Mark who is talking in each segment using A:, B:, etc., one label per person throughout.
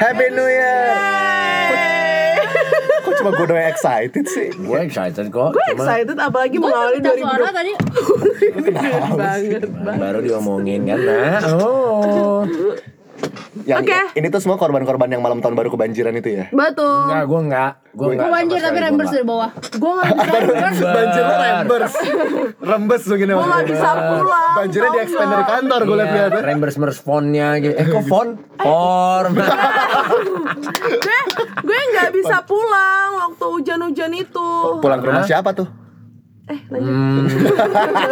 A: Happy New Year. Kok cuma gue doang yang excited sih?
B: Gue excited kok.
C: Gue
B: cuma
C: excited apalagi
D: Gue
C: mengawali
D: minta suara
C: 2020
D: tadi
C: banget. banget.
B: Baru diomongin kan. Nah, oh.
A: Yang
C: Oke.
A: ini tuh semua korban-korban yang malam tahun baru kebanjiran itu ya.
D: Betul
B: Enggak, gue enggak. Gue enggak.
D: Gue
B: sama
D: banjir
B: sekali, gua
D: tapi rembers
B: enggak.
D: dari bawah
C: Gue gak bisa
B: Rembes.
A: Banjir lo rembers. Rembes begini
C: Gue gak
A: maksudnya.
C: bisa pulang
A: Banjirnya
C: tau
A: di expand dari
C: nggak?
A: kantor ya. gue
B: Iya,
A: lihat-lihat.
B: rembers meresponnya gitu. Eh, kok font? Form.
C: Gue gue gak bisa pulang waktu hujan-hujan itu
A: Pulang ke rumah siapa tuh?
C: Eh lanjut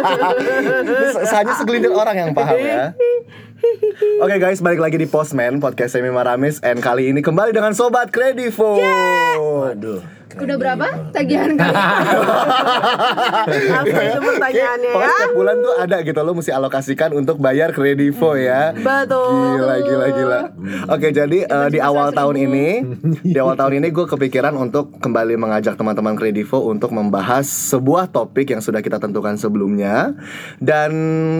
A: Se- Hanya segelintir orang yang paham ya. Oke guys, balik lagi di Postman Podcast Semi Maramis and kali ini kembali dengan sobat Kredivo.
B: Waduh. keren
D: Udah
B: juga.
D: berapa tagihan kalian?
C: Langsung itu pertanyaannya
A: Pokoknya
C: ya
A: setiap bulan tuh ada gitu lo mesti alokasikan untuk bayar Kredivo ya.
C: Hmm, Betul Hmm.
A: Gila, gila, gila. Oke, jadi eh, di awal tahun ini, di awal tahun ini gue kepikiran untuk kembali mengajak teman-teman Kredivo untuk membahas sebuah topik yang sudah kita tentukan sebelumnya. Dan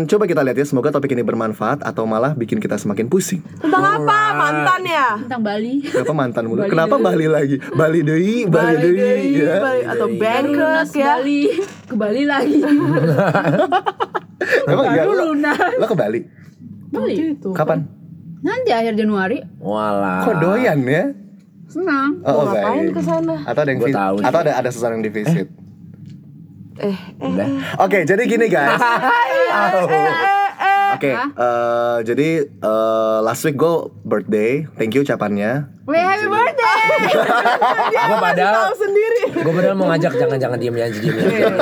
A: coba kita lihat ya, semoga topik ini bermanfaat atau malah bikin kita semakin pusing.
C: Tentang apa mantan ya?
D: Tentang Bali
A: Kenapa mantan mulu? Kenapa Bali lagi? Bali deui, Bali
C: Bali
A: deui.
C: Day,
A: ya.
C: Bali- atau Bangkok
D: Lunas
C: ya
D: Iya. Bali Ke Bali lagi
A: Emang iya
D: Baru
A: lo,
D: lunas
A: lo ke Bali?
D: Bali
C: Gitu.
A: Kapan?
D: Nanti akhir Januari
B: Walah.
A: Kok doyan ya?
D: Senang
A: Oh,
C: Mau ngapain
A: baik.
C: ke sana?
A: Atau ada yang
B: Gua
A: vi-
B: tahu sih.
A: atau ada ada sesuatu yang defisit.
C: Eh,
A: Nah.
B: Udah.
A: Oke, jadi gini guys.
C: eh, eh.
A: Oke, eh, jadi eh, last week gue birthday, thank you ucapannya.
D: Weh happy birthday
B: Gue
C: Tahu
B: padahal
C: sendiri
B: Gue padahal mau ngajak jangan-jangan diem aja diem aja gitu.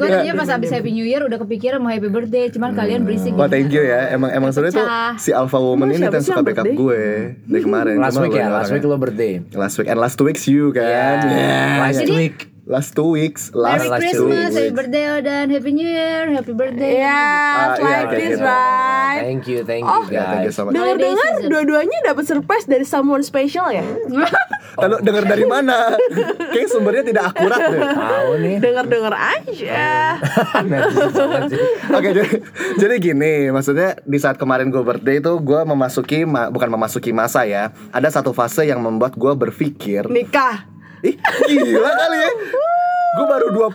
D: Gue tadinya pas habis Happy New Year udah kepikiran mau Happy Birthday Cuman kalian berisik
A: Wah thank you ya, emang emang sebenarnya tuh
D: Pecah.
A: si alpha woman ini
C: Emang siapa
A: tuh yang
C: sih
A: suka
C: yang
A: backup
C: birthday?
A: gue dari kemarin.
B: Last
A: Cuma
B: week
A: gue
B: ya,
A: yang
B: last week
A: orangnya.
B: lo birthday. Iya.
A: Last week and last two weeks you kan. Yeah.
B: Last
D: Jadi-
B: week.
A: Last two weeks, last
D: Merry
B: Last
A: two weeks.
D: Christmas, Happy Birthday dan Happy New Year, Happy Birthday.
C: Yeah,
A: Ah, iya,
C: like
A: kayak
C: this
A: gitu.
C: right
B: Thank you, thank you
C: Oh.
A: Ya, thank you
B: guys.
A: so much.
C: Dengar-dengar
D: Holiday season.
C: dua-duanya dapat surprise dari someone special ya?
A: Lalu dengar dari mana? Kayaknya sumbernya tidak akurat deh.
B: Tahu nih.
C: Dengar-dengar
A: Iya.
C: aja.
A: Oke jadi, jadi gini maksudnya di saat kemarin gue birthday itu gue memasuki ma- bukan memasuki masa ya ada satu fase yang membuat gue berpikir
C: Nikah.
A: ih gila kali ya gue baru 20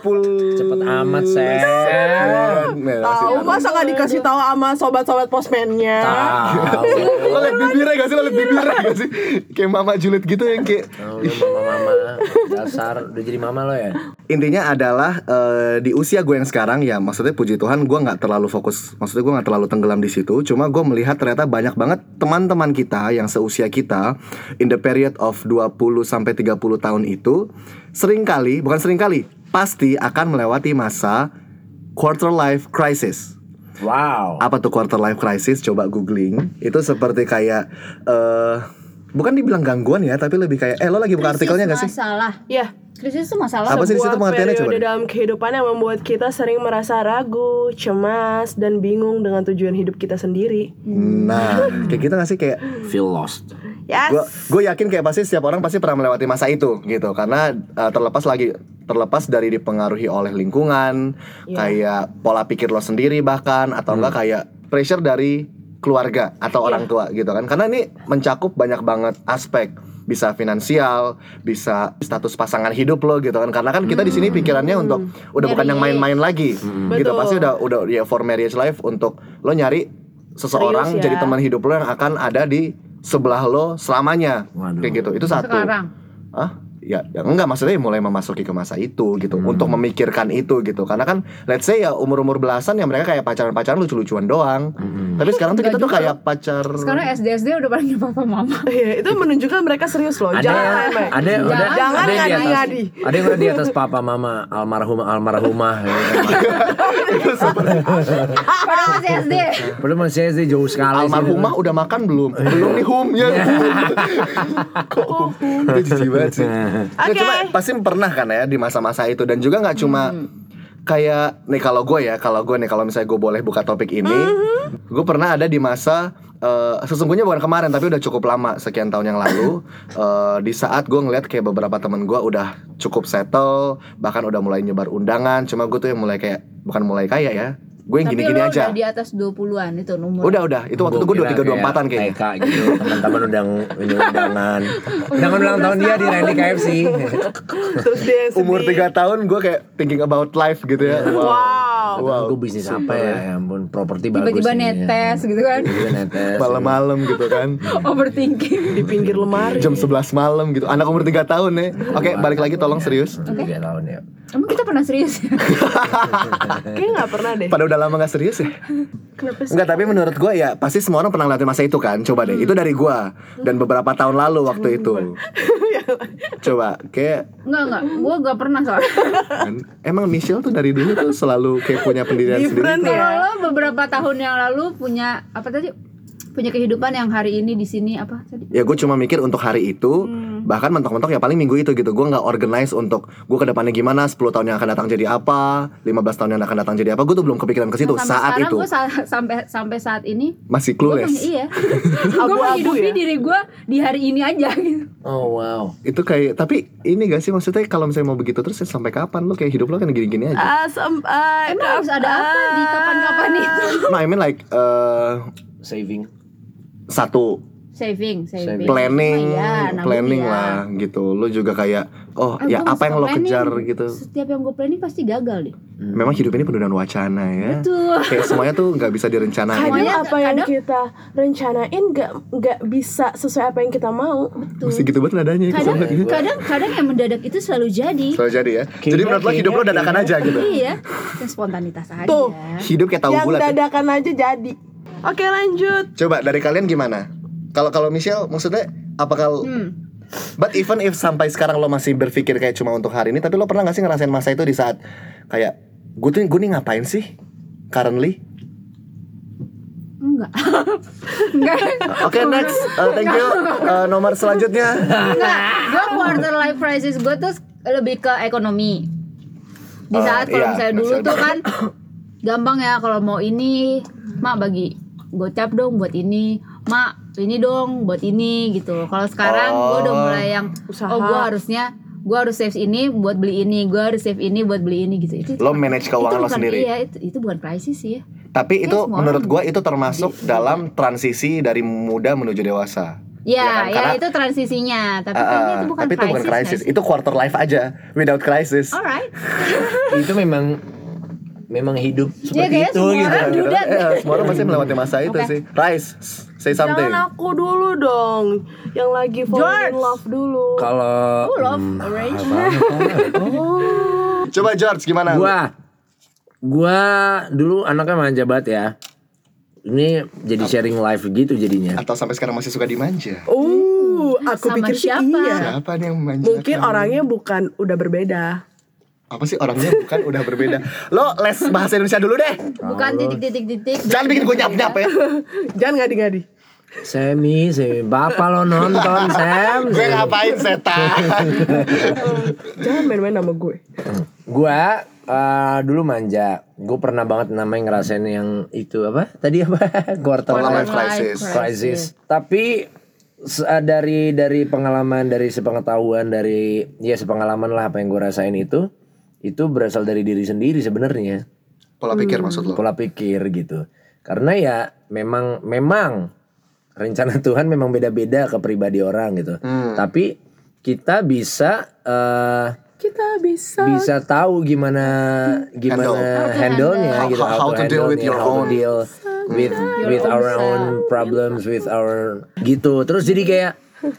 B: Cepet amat, Sep.
A: Nah, masih-
C: Tahu masa nggak dikasih tahu sama sobat-sobat posmennya?
B: Tahu.
A: lo liat bibirnya gak sih lo liat bibirnya gak sih kayak mama julid gitu yang kayak
B: Tahu lu mama-mama dasar udah jadi mama lo ya.
A: intinya adalah eh, di usia gue yang sekarang ya maksudnya puji Tuhan gue nggak terlalu fokus maksudnya gue nggak terlalu tenggelam di situ cuma gue melihat ternyata banyak banget teman-teman kita yang seusia kita in the period of 20 sampai 30 tahun itu seringkali bukan seringkali pasti akan melewati masa quarter life crisis
B: Wow.
A: apa tuh quarter life crisis coba googling itu seperti kayak eh bukan dibilang gangguan ya tapi lebih kayak eh lo lagi buka artikelnya gak sih
D: Masalah.
C: Ya.
D: Krisis itu masalah.
A: Apa sih di situ
C: Sebuah
A: pengertiannya coba
C: periode
A: deh?
C: dalam kehidupan yang membuat kita sering merasa ragu, cemas, dan bingung dengan tujuan hidup kita sendiri.
A: nah kayak gitu gak sih kayak
B: Feel lost.
C: Yes.
A: gue gue yakin kayak pasti setiap orang pasti pernah melewati masa itu gitu karena uh, terlepas lagi terlepas dari dipengaruhi oleh lingkungan
C: Iya.
A: kayak pola pikir lo sendiri bahkan atau enggak
C: Hmm.
A: kayak pressure dari keluarga atau orang
C: Iya.
A: tua gitu kan karena ini mencakup banyak banget aspek bisa finansial bisa status pasangan hidup lo gitu kan karena kan kita di sini pikirannya untuk udah bukan yang
D: Marriage.
A: main-main lagi gitu
C: Hmm. Betul.
A: pasti udah udah ya for marriage life untuk lo nyari seseorang
C: Serius ya.
A: jadi teman hidup lo yang akan ada di sebelah lo selamanya
B: Waduh.
A: kayak gitu itu satu
D: Sekarang.
A: ah ya, ya enggak maksudnya mulai memasuki ke masa itu gitu untuk memikirkan itu gitu karena kan let's say ya umur umur belasan ya mereka kayak pacaran pacaran lucu lucuan doang tapi sekarang tuh kita tuh kayak pacar
D: Sekarang SD-SD udah panggil papa mama.
C: Iya, itu menunjukkan mereka serius
A: Oh,
C: loh.
B: Ada
C: Jangan
B: yang
C: main-main.
B: ada yang udah
C: Jangan
B: ada yang di atas-
C: ngadi-ngadi.
B: Ada yang udah di atas papa mama almarhum almarhumah. ya kan.
D: Padahal masih SD.
B: Belum masih SD jauh sekali. sih.
A: almarhumah udah makan belum belum nih hum ya
D: Iya.
A: kok hum itu jijik banget sih Nah,
C: Oke.
A: cuma pasti pernah kan ya di masa-masa itu dan juga nggak cuma
D: Hmm.
A: kayak nih kalau gue ya kalau gue nih kalau misalnya gue boleh buka topik ini
D: Hmm.
A: gue pernah ada di masa eh, sesungguhnya bukan kemarin tapi udah cukup lama sekian tahun yang lalu eh, di saat gue ngeliat kayak beberapa temen gue udah cukup settle bahkan udah mulai nyebar undangan cuma gue tuh yang mulai kayak bukan mulai kaya ya gue yang
D: Tapi
A: gini-gini
D: lo
A: aja.
D: udah di atas 20-an itu umur.
A: Udah udah, itu waktu itu gue dua tiga dua empatan kayaknya.
B: TK gitu teman-teman undang ini undangan undangan ulang tahun dia di Randy KFC
C: Terus dia yang sedih.
A: Umur tiga tahun gue kayak thinking about life gitu ya.
C: Wow.
A: Wow.
B: gue bisnis apa ya ya ampun properti bagus
D: Tiba-tiba
B: ini.
D: netes
A: ya.
D: gitu kan.
B: Tiba-tiba netes
A: Malam-malam gitu kan.
C: Di
D: Overthinking.
C: pinggir lemari.
A: Jam 11 malam gitu. Anak umur 3 tahun ya. Oke,
D: Iya.
A: balik lagi tolong serius.
B: tiga tahun ya
D: Emang kita pernah serius ya?
C: Kayaknya nggak pernah deh.
A: Pada udah lama gak serius ya?
C: Kenapa sih?
A: Enggak, tapi menurut gue ya pasti semua orang pernah ngeliatin masa itu kan. Coba deh, itu dari gue dan beberapa tahun lalu waktu itu. Coba, kayak
D: Enggak, enggak. Gua gak pernah soalnya.
A: kan, emang Michelle tuh dari dulu tuh selalu kayak punya pendirian
C: Different
A: sendiri.
C: ya.
D: Kalau lo beberapa tahun yang lalu punya apa tadi? Punya kehidupan yang hari ini di sini apa tadi?
A: Ya gue cuma mikir untuk hari itu
D: Hmm.
A: Bahkan mentok-mentok ya paling minggu itu gitu Gue nggak organize untuk Gue kedepannya gimana 10 tahun yang akan datang jadi apa 15 tahun yang akan datang jadi apa Gue tuh belum kepikiran ke situ
D: Nah, sampai
A: Saat
D: sekarang
A: itu
D: gua sa- sampai sampai saat ini
A: Masih
D: Gue
A: clueless
D: iya. gue
C: Abu-abu
D: menghidupi
C: ya?
D: diri gue di hari ini aja gitu.
B: oh wow
A: Itu kayak Tapi ini gak sih maksudnya Kalau misalnya mau begitu terus ya Sampai kapan lu kayak hidup lu kan gini-gini aja
C: Ah, sem- ah,
D: Emang harus ada apa di kapan-kapan itu?
A: No I mean like eh,
B: saving
A: Satu
D: Saving, saving.
A: planning
D: Iya, nabung
A: planning
D: iya.
A: lah gitu lu juga kayak oh
D: Ah,
A: ya apa
D: gua masuk
A: yang lo
D: planning.
A: kejar gitu Eh,
D: Setiap yang gue planning pasti gagal deh.
A: memang hidup ini penuh dengan wacana ya
D: Betul.
A: kayak semuanya tuh nggak bisa direncanain
D: Semuanya
C: Kadang apa yang
D: kadang-
C: kita rencanain nggak nggak bisa sesuai apa yang kita mau.
D: Betul.
A: mesti gitu banget nadanya
D: Kadang,
A: kesel banget ya.
D: kadang, kadang yang mendadak itu selalu jadi.
A: selalu jadi ya jadi
B: Kayaknya-
A: menurut lo hidup lo
B: kayaknya-
A: dadakan aja gitu
D: Iya, dan spontanitas aja.
C: Tuh.
A: hidup kayak tahu
C: yang
A: bulat ya.
C: dadakan aja jadi. Oke lanjut.
A: coba dari kalian gimana kalau kalau Michelle maksudnya apakah
D: Hmm.
A: But even if sampai sekarang lo masih berpikir kayak cuma untuk hari ini, tapi lo pernah gak sih ngerasain masa itu di saat kayak gue tuh gue nih ngapain sih currently?
D: Enggak. Enggak.
A: Oke next, Uh, thank you. Uh, nomor selanjutnya.
D: Enggak. Gue quarter life crisis gue tuh lebih ke ekonomi. Di
A: Eh,
D: saat kalau
A: iya,
D: misalnya dulu
A: maksudnya.
D: tuh kan gampang ya kalau mau ini, mak bagi gocap dong buat ini, mak ini dong buat ini gitu. Kalau sekarang gue udah
A: Oh.
D: mulai yang
C: Usaha.
D: oh gue harusnya gue harus save ini buat beli ini, gue harus save ini buat beli ini gitu. Itu, itu
A: Lo manage keuangan
D: itu
A: lo
D: bukan-
A: sendiri.
D: Iya, itu, itu bukan krisis sih ya.
A: Tapi
D: Iya,
A: itu
D: semua
A: menurut
D: orang
A: gue itu termasuk dalam transisi dari muda menuju dewasa. Iya kan?
D: Ya, ya,
A: Karena-
D: itu transisinya,
A: Ah,
D: tapi
A: ah,
D: kayaknya itu bukan Oh,
A: tapi itu bukan
D: krisis.
A: crisis, itu quarter life aja, without crisis.
D: Alright.
B: itu memang memang hidup
D: Dia
B: seperti
D: Iya kayaknya
B: itu
D: Ya, semua
B: gitu
D: orang duda
A: Eh, semua orang pasti melewati masa itu
D: Oke.
A: sih. Rice, say something.
C: Jangan aku dulu dong. Yang lagi falling in
D: George.
C: love dulu.
B: kalau hmm,
D: Oh, love arrangement.
A: Coba George gimana?
B: gua gua dulu anaknya manja banget ya ini jadi sharing live gitu jadinya
A: Atau sampai sekarang masih suka dimanja?
C: Uh, aku
D: Sama
C: pikir sih
D: siapa?
C: iya.
A: Siapa nih yang manja?
C: Mungkin orangnya bukan udah berbeda.
A: apa sih orangnya bukan udah berbeda. Lo les bahasa Indonesia dulu deh.
D: bukan titik-titik-titik.
A: Jangan bikin gue nyap-nyap ya.
C: Jangan ngadi-ngadi.
B: semi semi bapak lo nonton Sam
A: Gue ngapain setan?
C: Jangan main-main sama gue.
B: gua eh, dulu manja gue pernah banget namanya ngerasain yang itu apa tadi apa
A: Quarter
B: quarter
A: life
B: life
A: crisis.
B: crisis. Tapi se- dari dari pengalaman dari sepengetahuan dari ya sepengalaman lah apa yang gue rasain itu itu berasal dari diri sendiri sebenarnya
A: Pola
C: Hmm.
A: pikir maksud lo.
B: pola pikir gitu. Karena ya memang memang rencana Tuhan memang beda-beda ke pribadi orang gitu. Tapi kita bisa eh,
C: Kita bisa.
B: bisa tahu gimana gimana handle-nya
A: handle.
B: gitu
A: How- how to deal
B: handle-nya,
A: with your
B: how to
A: own-
B: deal with with
D: own
B: our
D: self.
B: own problems with our gitu terus jadi kayak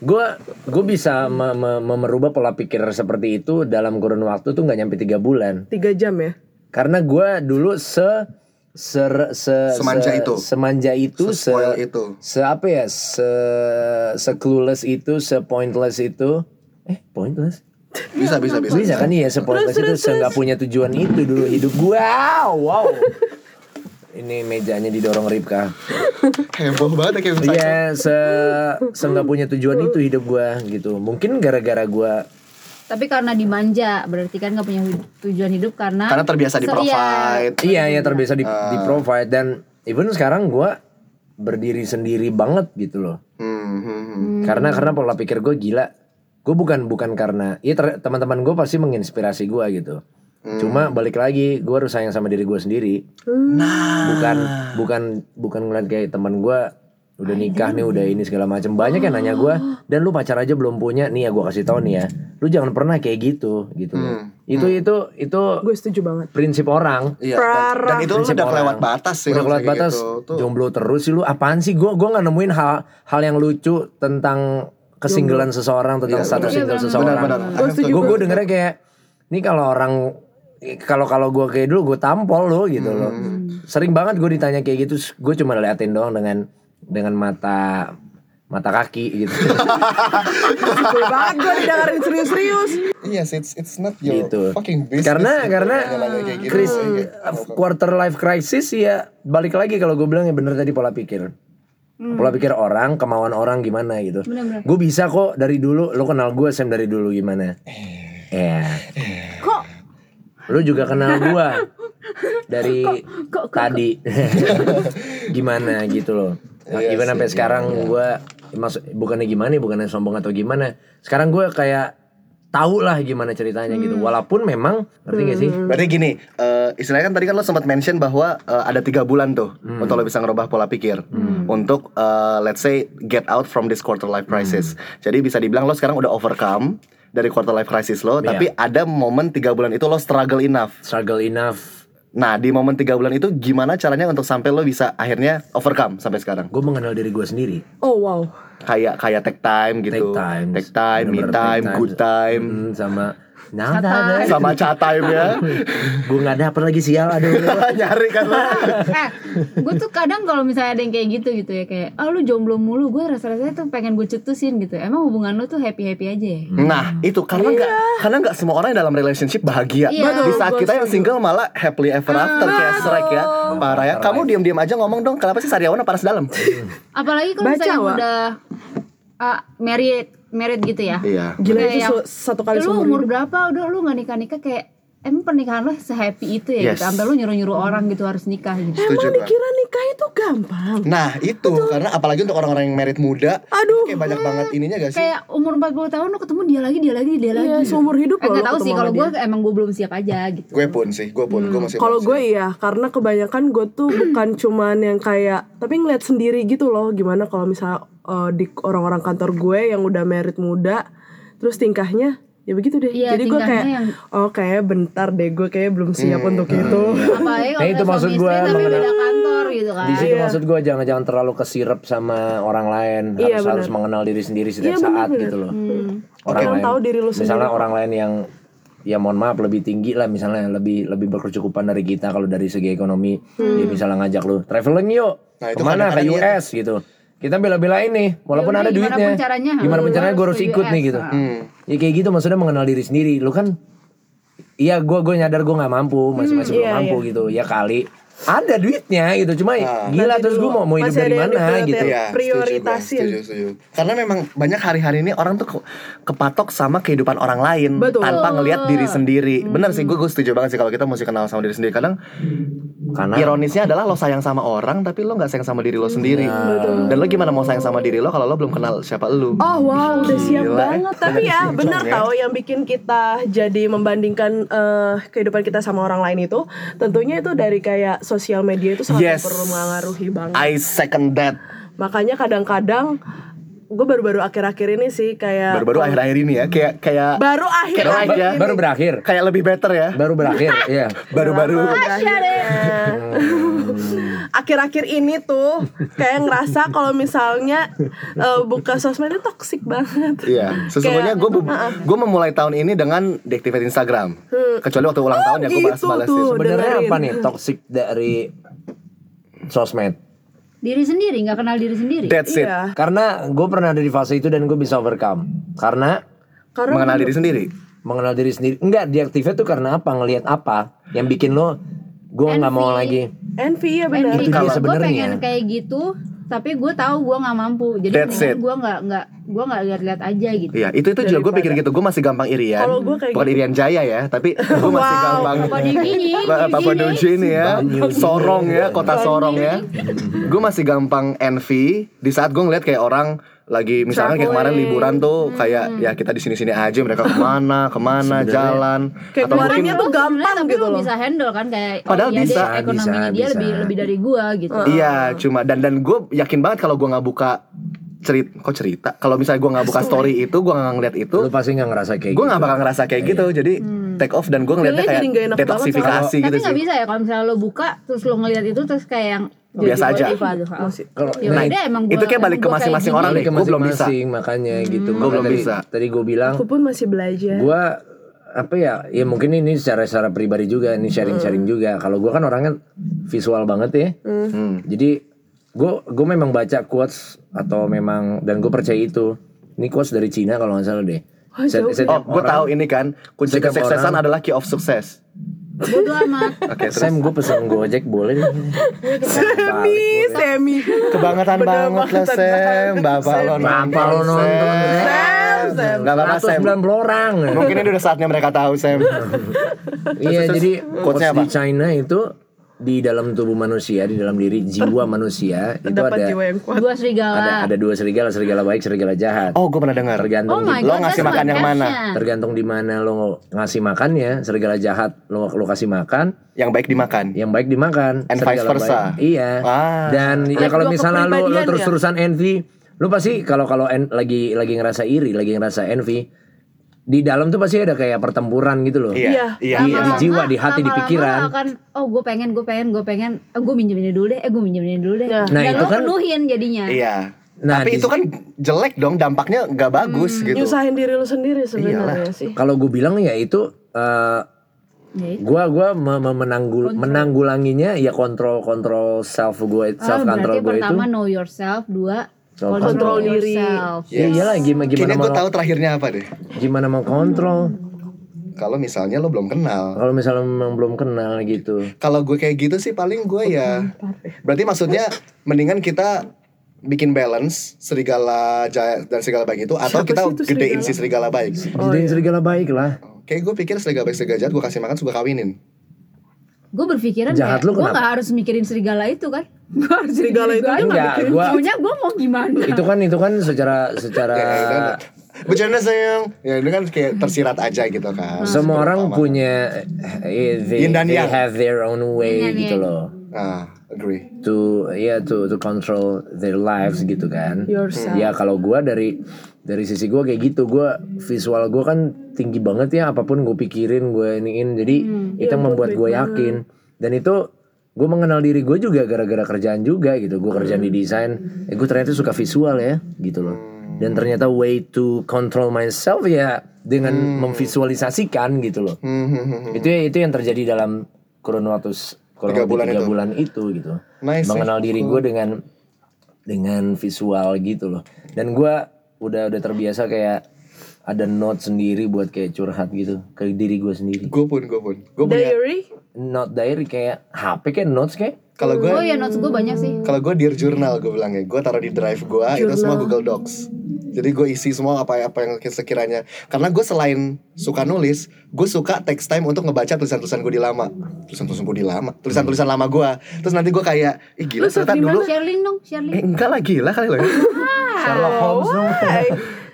B: gue gue bisa me- me- me- merubah pola pikir seperti itu dalam kurun waktu tuh nggak nyampe tiga bulan
C: Tiga jam ya.
B: karena gue dulu se ser- se,
A: Semanja
B: se-
A: itu.
B: semanja itu se,
A: Spoil itu.
B: se apa ya se se clueless itu se pointless itu eh pointless
A: Bisa bisa bisa.
B: bisa kan iya sepointless itu se nggak punya tujuan itu dulu hidup gua wow ini mejanya didorong Ripka
A: Heboh banget ya kayak misalnya.
B: iya se se nggak punya tujuan itu hidup gua gitu mungkin gara-gara gua
D: Tapi karena dimanja, berarti kan nggak punya hid- tujuan hidup karena
A: Karena terbiasa di
D: So,
A: provide.
B: iya ya terbiasa di, di provide dan even sekarang gua berdiri sendiri banget gitu loh
A: Hmm, hmm, hmm.
B: karena karena pola iya, pikir gue gila gue bukan bukan karena ya ter- teman-teman gue pasti menginspirasi gue gitu Cuma balik lagi, gue harus sayang sama diri gue sendiri. Bukan bukan bukan ngeliat kayak teman gue udah nikah nih, udah ini segala macam. Banyak yang nanya gue, dan lu pacar aja belum punya nih ya gue kasih tau nih ya. Lu jangan pernah kayak gitu gitu. loh. Itu itu itu
C: Gue setuju banget.
B: prinsip orang.
A: Iya, dan, dan itu lu
B: Prinsip
A: udah
B: orang.
A: lewat batas sih.
B: Udah
A: kalau
B: lewat
A: kayak
B: batas.
A: gitu. Tuh.
B: Jomblo terus sih lu. Apaan sih? Gue gua nggak nemuin hal hal yang lucu tentang kesinggelan seseorang, tentang status
D: Iya,
B: single
D: benar-benar.
B: seseorang.
A: Benar-benar.
C: Gue setuju.
B: Gue gue
C: banget.
B: dengernya kayak ini kalau orang kalau kalau gue kayak dulu gue tampol lo gitu loh.
A: Hmm.
B: Sering banget gue ditanya kayak gitu, gue cuma liatin doang dengan dengan mata mata kaki gitu.
C: Gue banget gue didengerin serius-serius.
A: Yes, it's it's not your
B: Gitu.
A: fucking business.
B: Karena-
A: gitu.
B: karena,
A: Jalannya kayak gitu.
B: Chris uh,
A: Kayak-
B: quarter life crisis ya balik lagi kalau gue bilang ya bener tadi pola pikir. Pola pikir orang, kemauan orang gimana gitu.
D: Bener-bener.
B: Gue bisa kok dari dulu, lo kenal gue Sam dari dulu gimana?
A: Eh.
B: Ya.
D: Kok
B: Lu juga kenal gua dari tadi. gimana gitu loh.
A: Iya
B: even
A: sih,
B: sampai
A: iya,
B: sekarang gua maksud bukannya gimana, bukannya sombong atau gimana. Sekarang gua kayak tahu lah gimana ceritanya gitu. Walaupun memang ngerti gak sih?
A: Berarti gini, eh, istilahnya kan tadi kan lo sempat mention bahwa eh, ada tiga bulan tuh
B: Hmm.
A: untuk lo bisa ngerubah pola pikir untuk eh, let's say get out from this quarter life crisis.
B: Hmm.
A: Jadi bisa dibilang lo sekarang udah overcome dari quarter life crisis lo,
B: Iya.
A: tapi ada momen tiga bulan itu lo struggle enough.
B: Struggle enough.
A: Nah di momen tiga bulan itu gimana caranya untuk sampai lo bisa akhirnya overcome sampai sekarang?
B: Gue mengenal diri gua sendiri.
C: Oh wow.
A: Kayak kayak take time gitu,
B: Take time.
A: take time, me
B: Bener-bener
A: time,
B: take
A: good time,
B: Mm, sama Nah,
D: Chat time.
A: sama chat time ya.
B: gue nggak dapet lagi sial aduh.
A: Nyari kan lo.
D: eh gue tuh kadang kalau misalnya ada yang kayak gitu gitu ya kayak ah lu jomblo mulu gue rasa-rasanya tuh pengen gue cetusin gitu emang hubungan lu tuh happy happy aja ya
C: Hmm.
A: Nah itu karena
C: Iya.
A: nggak karena nggak semua orang yang dalam relationship bahagia.
D: Iya.
A: Di saat
C: Betul,
A: kita
C: gua
A: yang single malah happily ever after kayak Shrek ya. Parah ya. Kamu diam-diam aja ngomong dong. Kenapa sih Sariawan panas dalam?
D: apalagi kalau
C: Baca,
D: misalnya
C: Wak.
D: udah ah, married married gitu ya
A: iya.
C: Gila
D: Kayak
C: itu
D: yang-
C: su- satu kali
D: lu
C: seumur
D: umur berapa udah lu nggak nikah nikah kayak emang pernikahan lu sehappy itu ya
A: Yes.
D: gitu sampai lu nyuruh nyuruh orang gitu harus nikah gitu
A: Setuju Bang.
C: Emang dikira nikah itu gampang.
A: Nah itu karena apalagi untuk orang-orang yang merit muda.
C: Aduh.
A: Kayak banyak banget ininya gak sih?
D: kayak umur 40 tahun lu ketemu dia lagi dia lagi dia lagi
C: Iya, seumur hidup
D: eh,
C: loh
D: nggak
C: lu
D: tahu sih
C: ketemu
D: kalau
C: sama
D: gue
C: dia.
D: emang gue belum siap aja gitu
A: Gue pun sih. Gue pun. Gue masih.
C: Kalau
A: pun
C: gue iya, karena kebanyakan gue tuh bukan cuman yang kayak tapi ngeliat sendiri gitu loh gimana kalau misalnya eh, di orang-orang kantor gue yang udah merit muda terus tingkahnya ya begitu deh.
D: Iya,
C: Jadi gue
D: tingkahnya
C: kayak
D: yang-
C: oh kayak bentar deh gue kayak belum siap
A: Hmm,
C: untuk itu.
D: apalagi kalau
B: Nah, itu
D: udah
B: maksud
D: suami istri
B: gua,
D: tapi
B: mengenal-
D: beda kantor gitu kan
B: di situ maksud gue jangan-jangan terlalu kesirep sama orang lain harus
C: Iya, benar.
B: harus mengenal diri sendiri setiap
C: Iya, benar,
B: saat
C: benar.
B: gitu loh
D: Hmm.
A: Oke.
C: Orang tahu diri lu
B: misalnya orang lain yang ya mohon maaf lebih tinggi lah misalnya lebih lebih berkecukupan dari kita kalau dari segi ekonomi
C: Hmm.
B: dia misalnya ngajak lu traveling yuk
A: Nah, itu
B: kemana ke
A: kadang-kadang iya
B: US gitu kita bela-belain nih walaupun ada
D: Yaudah, gimana
B: duitnya
D: pun caranya,
B: gimana pun
D: lu
B: caranya gue
D: harus
B: harus
D: ke
B: ikut
D: US.
B: nih gitu
C: nah.
D: Ah.
A: Hmm.
B: ya kayak gitu maksudnya mengenal diri sendiri lu kan iya gue gue nyadar gue nggak mampu masih-masih belum
C: iya,
B: mampu gitu ya kali ada duitnya gitu cuma
A: Ah.
B: gila
C: Nanti
B: terus gue
C: dulu.
B: mau mau hidup
C: Masih
B: dari
C: ada yang
B: mana
C: dibeli
B: gitu
C: hotel.
A: Iya,
C: Prioritasin.
A: Setuju, gue. setuju, setuju. Karena memang banyak hari-hari ini orang tuh ke- kepatok sama kehidupan orang lain
C: Betul.
A: tanpa ngelihat diri sendiri. Bener sih, gue gue setuju banget sih kalau kita mesti kenal sama diri sendiri. Kadang
B: karena
A: Ironisnya adalah lo sayang sama orang tapi lo nggak sayang sama diri lo sendiri. Dan lo gimana mau sayang sama diri lo kalau lo belum kenal siapa lo?
C: Oh wow, udah siap
A: Gila, eh.
C: banget. Tapi ya bener tau yang bikin kita jadi membandingkan eh, kehidupan kita sama orang lain itu, tentunya itu dari kayak sosial media itu
A: Yes.
C: sangat perlu mengaruhi banget.
A: I second that.
C: Makanya kadang-kadang gue baru-baru akhir-akhir ini sih kayak
A: Baru-baru akhir-akhir ini ya kayak kayak
C: baru akhir
A: Kayak
C: akhir
A: aja.
C: ini.
B: baru berakhir
A: kayak lebih better ya.
B: baru berakhir ya
A: Baru-baru
C: Akhirnya.
A: Hmm.
C: akhir-akhir ini tuh kayak ngerasa kalau misalnya eh, buka sosmed itu toksik banget.
A: Iya, sesungguhnya gue
C: uh-uh.
A: gue memulai tahun ini dengan deactivate Instagram. Kecuali waktu ulang tahun ya gue
C: Hmm. gitu
A: balas-balasin.
C: tuh.
B: sebenarnya
C: dengerin.
B: apa nih toxic dari sosmed
D: diri sendiri nggak kenal diri sendiri
A: That's it.
C: Iya.
B: karena gue pernah ada di fase itu dan gue bisa overcome karena
C: Karena kan
A: Mengenal diri sendiri.
B: mengenal diri sendiri enggak deactivate tuh karena apa ngelihat apa yang bikin lo
D: Kan
B: gue nggak mau lagi
C: envy ya benar.
D: Envy
B: Itu dia
D: gue
B: sebenarnya.
D: pengen kayak gitu tapi gue tahu gue nggak mampu jadi
A: That's it.
D: mendingan gue nggak nggak gue nggak lihat-lihat aja gitu
A: Iya, itu itu juga gue pikir gitu. Gue masih gampang irian.
C: Kalau gua kayak gitu.
A: Bukan irian jaya ya, tapi gue masih
C: Wow,
A: gampang.
D: Papua New Guinea,
A: Ba- Papua New Guinea ya, Sorong ya, kota Sorong ya. Gue masih gampang envy di saat gue ngeliat kayak orang lagi misalkan kayak kemarin
C: Traveling.
A: liburan tuh kayak ya kita di sini-sini aja mereka kemana kemana
B: Sebenarnya-
A: jalan atau
C: Kayak kemarin
A: mungkin
C: itu
D: Sebenarnya
C: gampang
D: tapi
C: gitu
D: lu
C: loh.
D: bisa handle kan kayak oh
A: Padahal
D: iya,
A: bisa,
D: dia ekonominya
B: bisa,
D: dia
B: bisa.
D: lebih lebih dari gua gitu
A: Iya, cuma dan dan gue yakin banget kalau gue nggak buka cerita, kok cerita? Kalau misalnya gue nggak buka story itu, gue nggak ngeliat itu,
B: Lu pasti nggak ngerasa kayak
A: gue nggak
B: gitu.
A: bakal ngerasa kayak gitu. Jadi take off dan gue ngeliatnya
C: Feelnya
A: kayak
C: jadi nggak enak banget
A: detoksifikasi
D: tapi
A: gitu
D: nggak
A: sih.
D: bisa ya kalau misalnya lo buka terus lo ngelihat itu terus kayak yang
A: Biasa aja.
C: Masih-
B: Kalau
D: Ya
A: Nah,
D: udah, emang gua-
A: itu kayak
D: emang
A: balik ke
D: gua kayak
A: masing-masing
D: gini.
A: orang deh.
B: balik ke
A: Gue Iya, belum bisa.
B: masing-masing makanya gitu.
A: Gua
D: Hmm.
A: belum
B: Makanya tadi-
A: bisa.
B: Tadi gue bilang
C: Aku pun masih belajar.
B: gue apa ya ya mungkin ini secara secara pribadi juga ini sharing sharing juga kalau gue kan orangnya visual banget ya
A: Hmm.
B: jadi gue gue memang baca quotes atau memang dan gue percaya itu ini quotes dari Cina kalau nggak salah deh
C: Wah,
B: Set-
C: jauh ya.
A: Oh,
B: setiap
A: gue
B: orang-
A: tahu ini kan kunci
B: Setiap
A: kesuksesan
B: orang-
A: adalah key of success.
D: bodo amat
A: Oke, terus
B: Sam gue pesen gojek boleh deh
C: Semi, semi.
A: kebangetan banget lah Sam, bapak lo nonton.
B: Bapak lo nonton,
A: Sam, Sam. Gak apa-apa Sam.
B: 190 orang
A: Mungkin ini udah saatnya mereka tahu Sam.
B: Iya
A: terus,
B: jadi
A: quotes-nya apa?
B: quotes di China itu di dalam tubuh manusia di dalam diri jiwa manusia itu
C: Dapat
B: ada
C: jiwa yang kuat.
D: dua
B: ada
D: serigala
B: ada dua serigala serigala baik serigala jahat
A: Oh, gue pernah dengar.
B: tergantung
D: oh
B: di
D: my
A: Lo
D: god
A: ngasih
D: that's
A: makan
D: my
A: yang mana?
C: Nah.
D: passion.
B: tergantung di mana lo ngasih makannya serigala jahat lo lo kasih makan
A: Yang baik dimakan.
B: yang baik dimakan
A: And
B: serigala
A: vice versa.
B: baik- iya
A: Ah.
B: dan ya
C: Ada
B: kalau
C: dua
B: misalnya lo lo
C: kepribadian ya?
B: terus terusan envy lo pasti kalau kalau en- lagi lagi ngerasa iri lagi ngerasa envy di dalam tuh pasti ada kayak pertempuran gitu loh
A: Iya.
C: Iya.
B: Di-
A: iya.
B: di jiwa, di hati, di
D: lama-lama
B: pikiran.
D: akan oh gue pengen gue pengen gue pengen oh, gue minjem ini dulu deh eh gue minjem ini dulu deh
C: Nah,
D: dan
B: itu
D: lo
B: kan-
D: penuhin jadinya
A: Iya.
B: Nah,
A: Tapi
B: di-
A: itu kan jelek dong, dampaknya nggak bagus gitu.
C: Nyusahin diri lu sendiri sebenarnya sih.
B: kalau gue bilang ya itu eh,
D: Ya itu.
B: gua gua me- me- menanggul menanggulanginya ya kontrol kontrol self gue
C: Ah,
D: Oh,
B: self control
D: berarti
B: gue itu
D: pertama know yourself dua
B: Self
D: control,
C: control diri.
D: yourself
B: ya iyalah gimana gimana
A: Iya. Kayaknya
B: mau
A: gue tahu terakhirnya apa deh.
B: gimana mau
C: Hmm.
B: kontrol
A: Kalau misalnya lo belum kenal.
B: kalau misalnya memang belum kenal gitu
A: Kalau gue kayak gitu sih paling gue ya. Berarti maksudnya mendingan kita bikin balance serigala jaya dan serigala baik itu atau
C: Siapa
A: kita
C: sih itu
A: gedein
C: serigala?
A: si serigala baik.
C: Oh,
B: Jadiin serigala baik lah
A: Kayak gue pikir serigala baik serigala jahat gue kasih makan suka kawinin.
D: gue berpikiran
B: Jahat lu
D: kayak, gue
B: kenapa?
D: gak harus mikirin serigala itu kan gue harus
C: Serigala itu
D: mikirin
C: aja
B: Enggak,
C: nggak bikin
B: gua-
D: maunya gue mau gimana
B: itu kan itu kan secara
A: Ya, ya, itu
C: Ah.
B: secara
A: kan- Bercanda sayang. Ya itu kan kayak tersirat aja gitu kan.
B: semua orang punya eh, they,
A: Yin dan
B: they
A: yang.
B: have their own way
D: Yin dan
B: gitu
D: yang.
B: loh
A: Ah, agree.
B: to ya to to control their lives gitu kan.
C: Yourself.
B: Ya kalau gua dari dari sisi gua kayak gitu, gua visual gua kan tinggi banget ya apapun gue pikirin, gue iniin. Jadi itu yang membuat gue yakin dan itu gue mengenal diri gue juga gara-gara kerjaan juga gitu. Gue kerjaan di desain, eh gue ternyata suka visual ya gitu loh. Dan ternyata way to control myself ya dengan memvisualisasikan gitu loh.
A: Hmm, hmm, hmm, hmm.
B: Itu itu yang terjadi dalam kurun waktu s- kurun
A: Tiga
B: waktu
A: bulan
B: tiga
A: itu.
B: bulan itu gitu.
A: Nice,
B: Mengenal
A: nice.
B: diri gue dengan dengan visual gitu loh. Dan gue udah udah terbiasa kayak ada note sendiri buat kayak curhat gitu ke diri gue sendiri.
A: Gue pun, gue pun. Gue punya.
C: Diary?
B: Note diary kayak HP kayak notes kayak
A: Kalau
B: Iya.
A: gue
D: oh ya notes gue banyak sih
A: Kalau gue dear journal gue bilangnya, gue taruh di drive gue itu semua Google Docs. Jadi gue isi semua apa-apa yang sekiranya. Karena gue selain suka nulis, gue suka text time untuk ngebaca tulisan-tulisan gue di lama, tulisan-tulisan gue di lama, tulisan-tulisan lama gue. Terus nanti gue kayak, ih gila ternyata dulu,
D: share link dong share
A: eh
D: link
A: enggak lah gila kali loh. ya. Sherlock Holmes dong.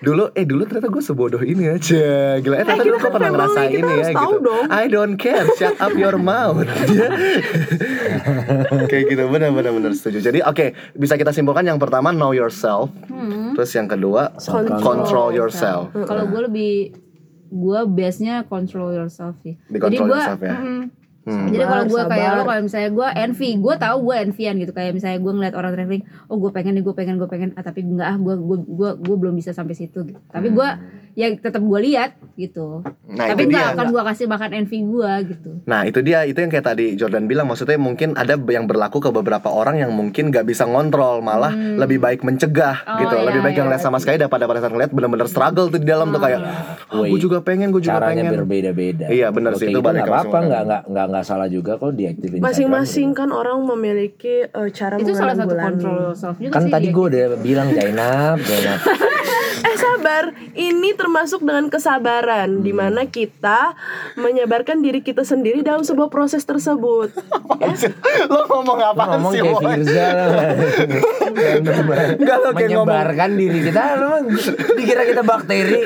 A: dulu eh dulu ternyata gue sebodoh ini aja gila eh ternyata
C: kita
A: dulu gue
C: kan
A: pernah
C: family,
A: ngerasain
C: kita
A: ini ya
C: harus tahu
A: gitu
C: dong.
A: I don't care shut up your mouth kayak gitu benar benar benar setuju jadi oke bisa kita simpulkan yang pertama know yourself terus yang kedua
B: Self-control.
A: control, yourself
D: Hmm. Kalau gue lebih gue biasanya control yourself sih.
A: Di control
D: gua-
A: yourself ya.
D: mm-mm.
A: hmm.
D: Jadi kalau gue
C: Sabar,
D: kayak
C: sabar.
D: lo kalau misalnya gue envy, gue tahu gue envyan gitu kayak misalnya gue ngeliat orang traveling, oh gue pengen nih, gue pengen, gue pengen, ah tapi enggak ah gue gue gue gue belum bisa sampai situ. Gitu. Tapi gue ya tetap gue lihat gitu.
A: Hmm. Nah,
D: tapi
A: itu
D: nggak
A: dia.
D: akan gue kasih makan envy gue gitu.
A: Nah itu dia itu yang kayak tadi Jordan bilang maksudnya mungkin ada yang berlaku ke beberapa orang yang mungkin gak bisa ngontrol malah lebih baik mencegah
D: Oh,
A: gitu
D: iya,
A: lebih baik yang
D: iya.
A: ngeliat sama sekali daripada pada saat ngeliat bener-bener struggle tuh di dalam tuh kayak "Ah, gue
B: Wait,
A: juga pengen gue juga
B: caranya
A: pengen
B: berbeda-beda.
A: Iya, benar
B: Kalau
A: sih,
B: kayak
A: itu
B: gitu
A: balik
B: nggak
A: ke
B: apa-apa,
A: masing-masing.
B: nggak nggak nggak nggak salah juga kalau diaktifin. Instagram
C: Masing-masing
A: gitu.
C: kan orang memiliki eh, cara
A: Kan
D: Itu salah satu
C: menanggulangi.
D: control yourself juga
B: kan
D: sih.
B: tadi
D: ya.
B: gue udah bilang Zainab Zainab
C: Eh sabar, ini termasuk dengan kesabaran
A: Hmm.
C: Dimana kita menyebarkan diri kita sendiri dalam sebuah proses tersebut
A: Lo ngomong apa
B: ngomong
A: sih?
B: kayak
A: Boy?
B: Firza lah.
A: Enggak, lo kayak
B: menyebarkan diri kita lu mah dikira kita bakteri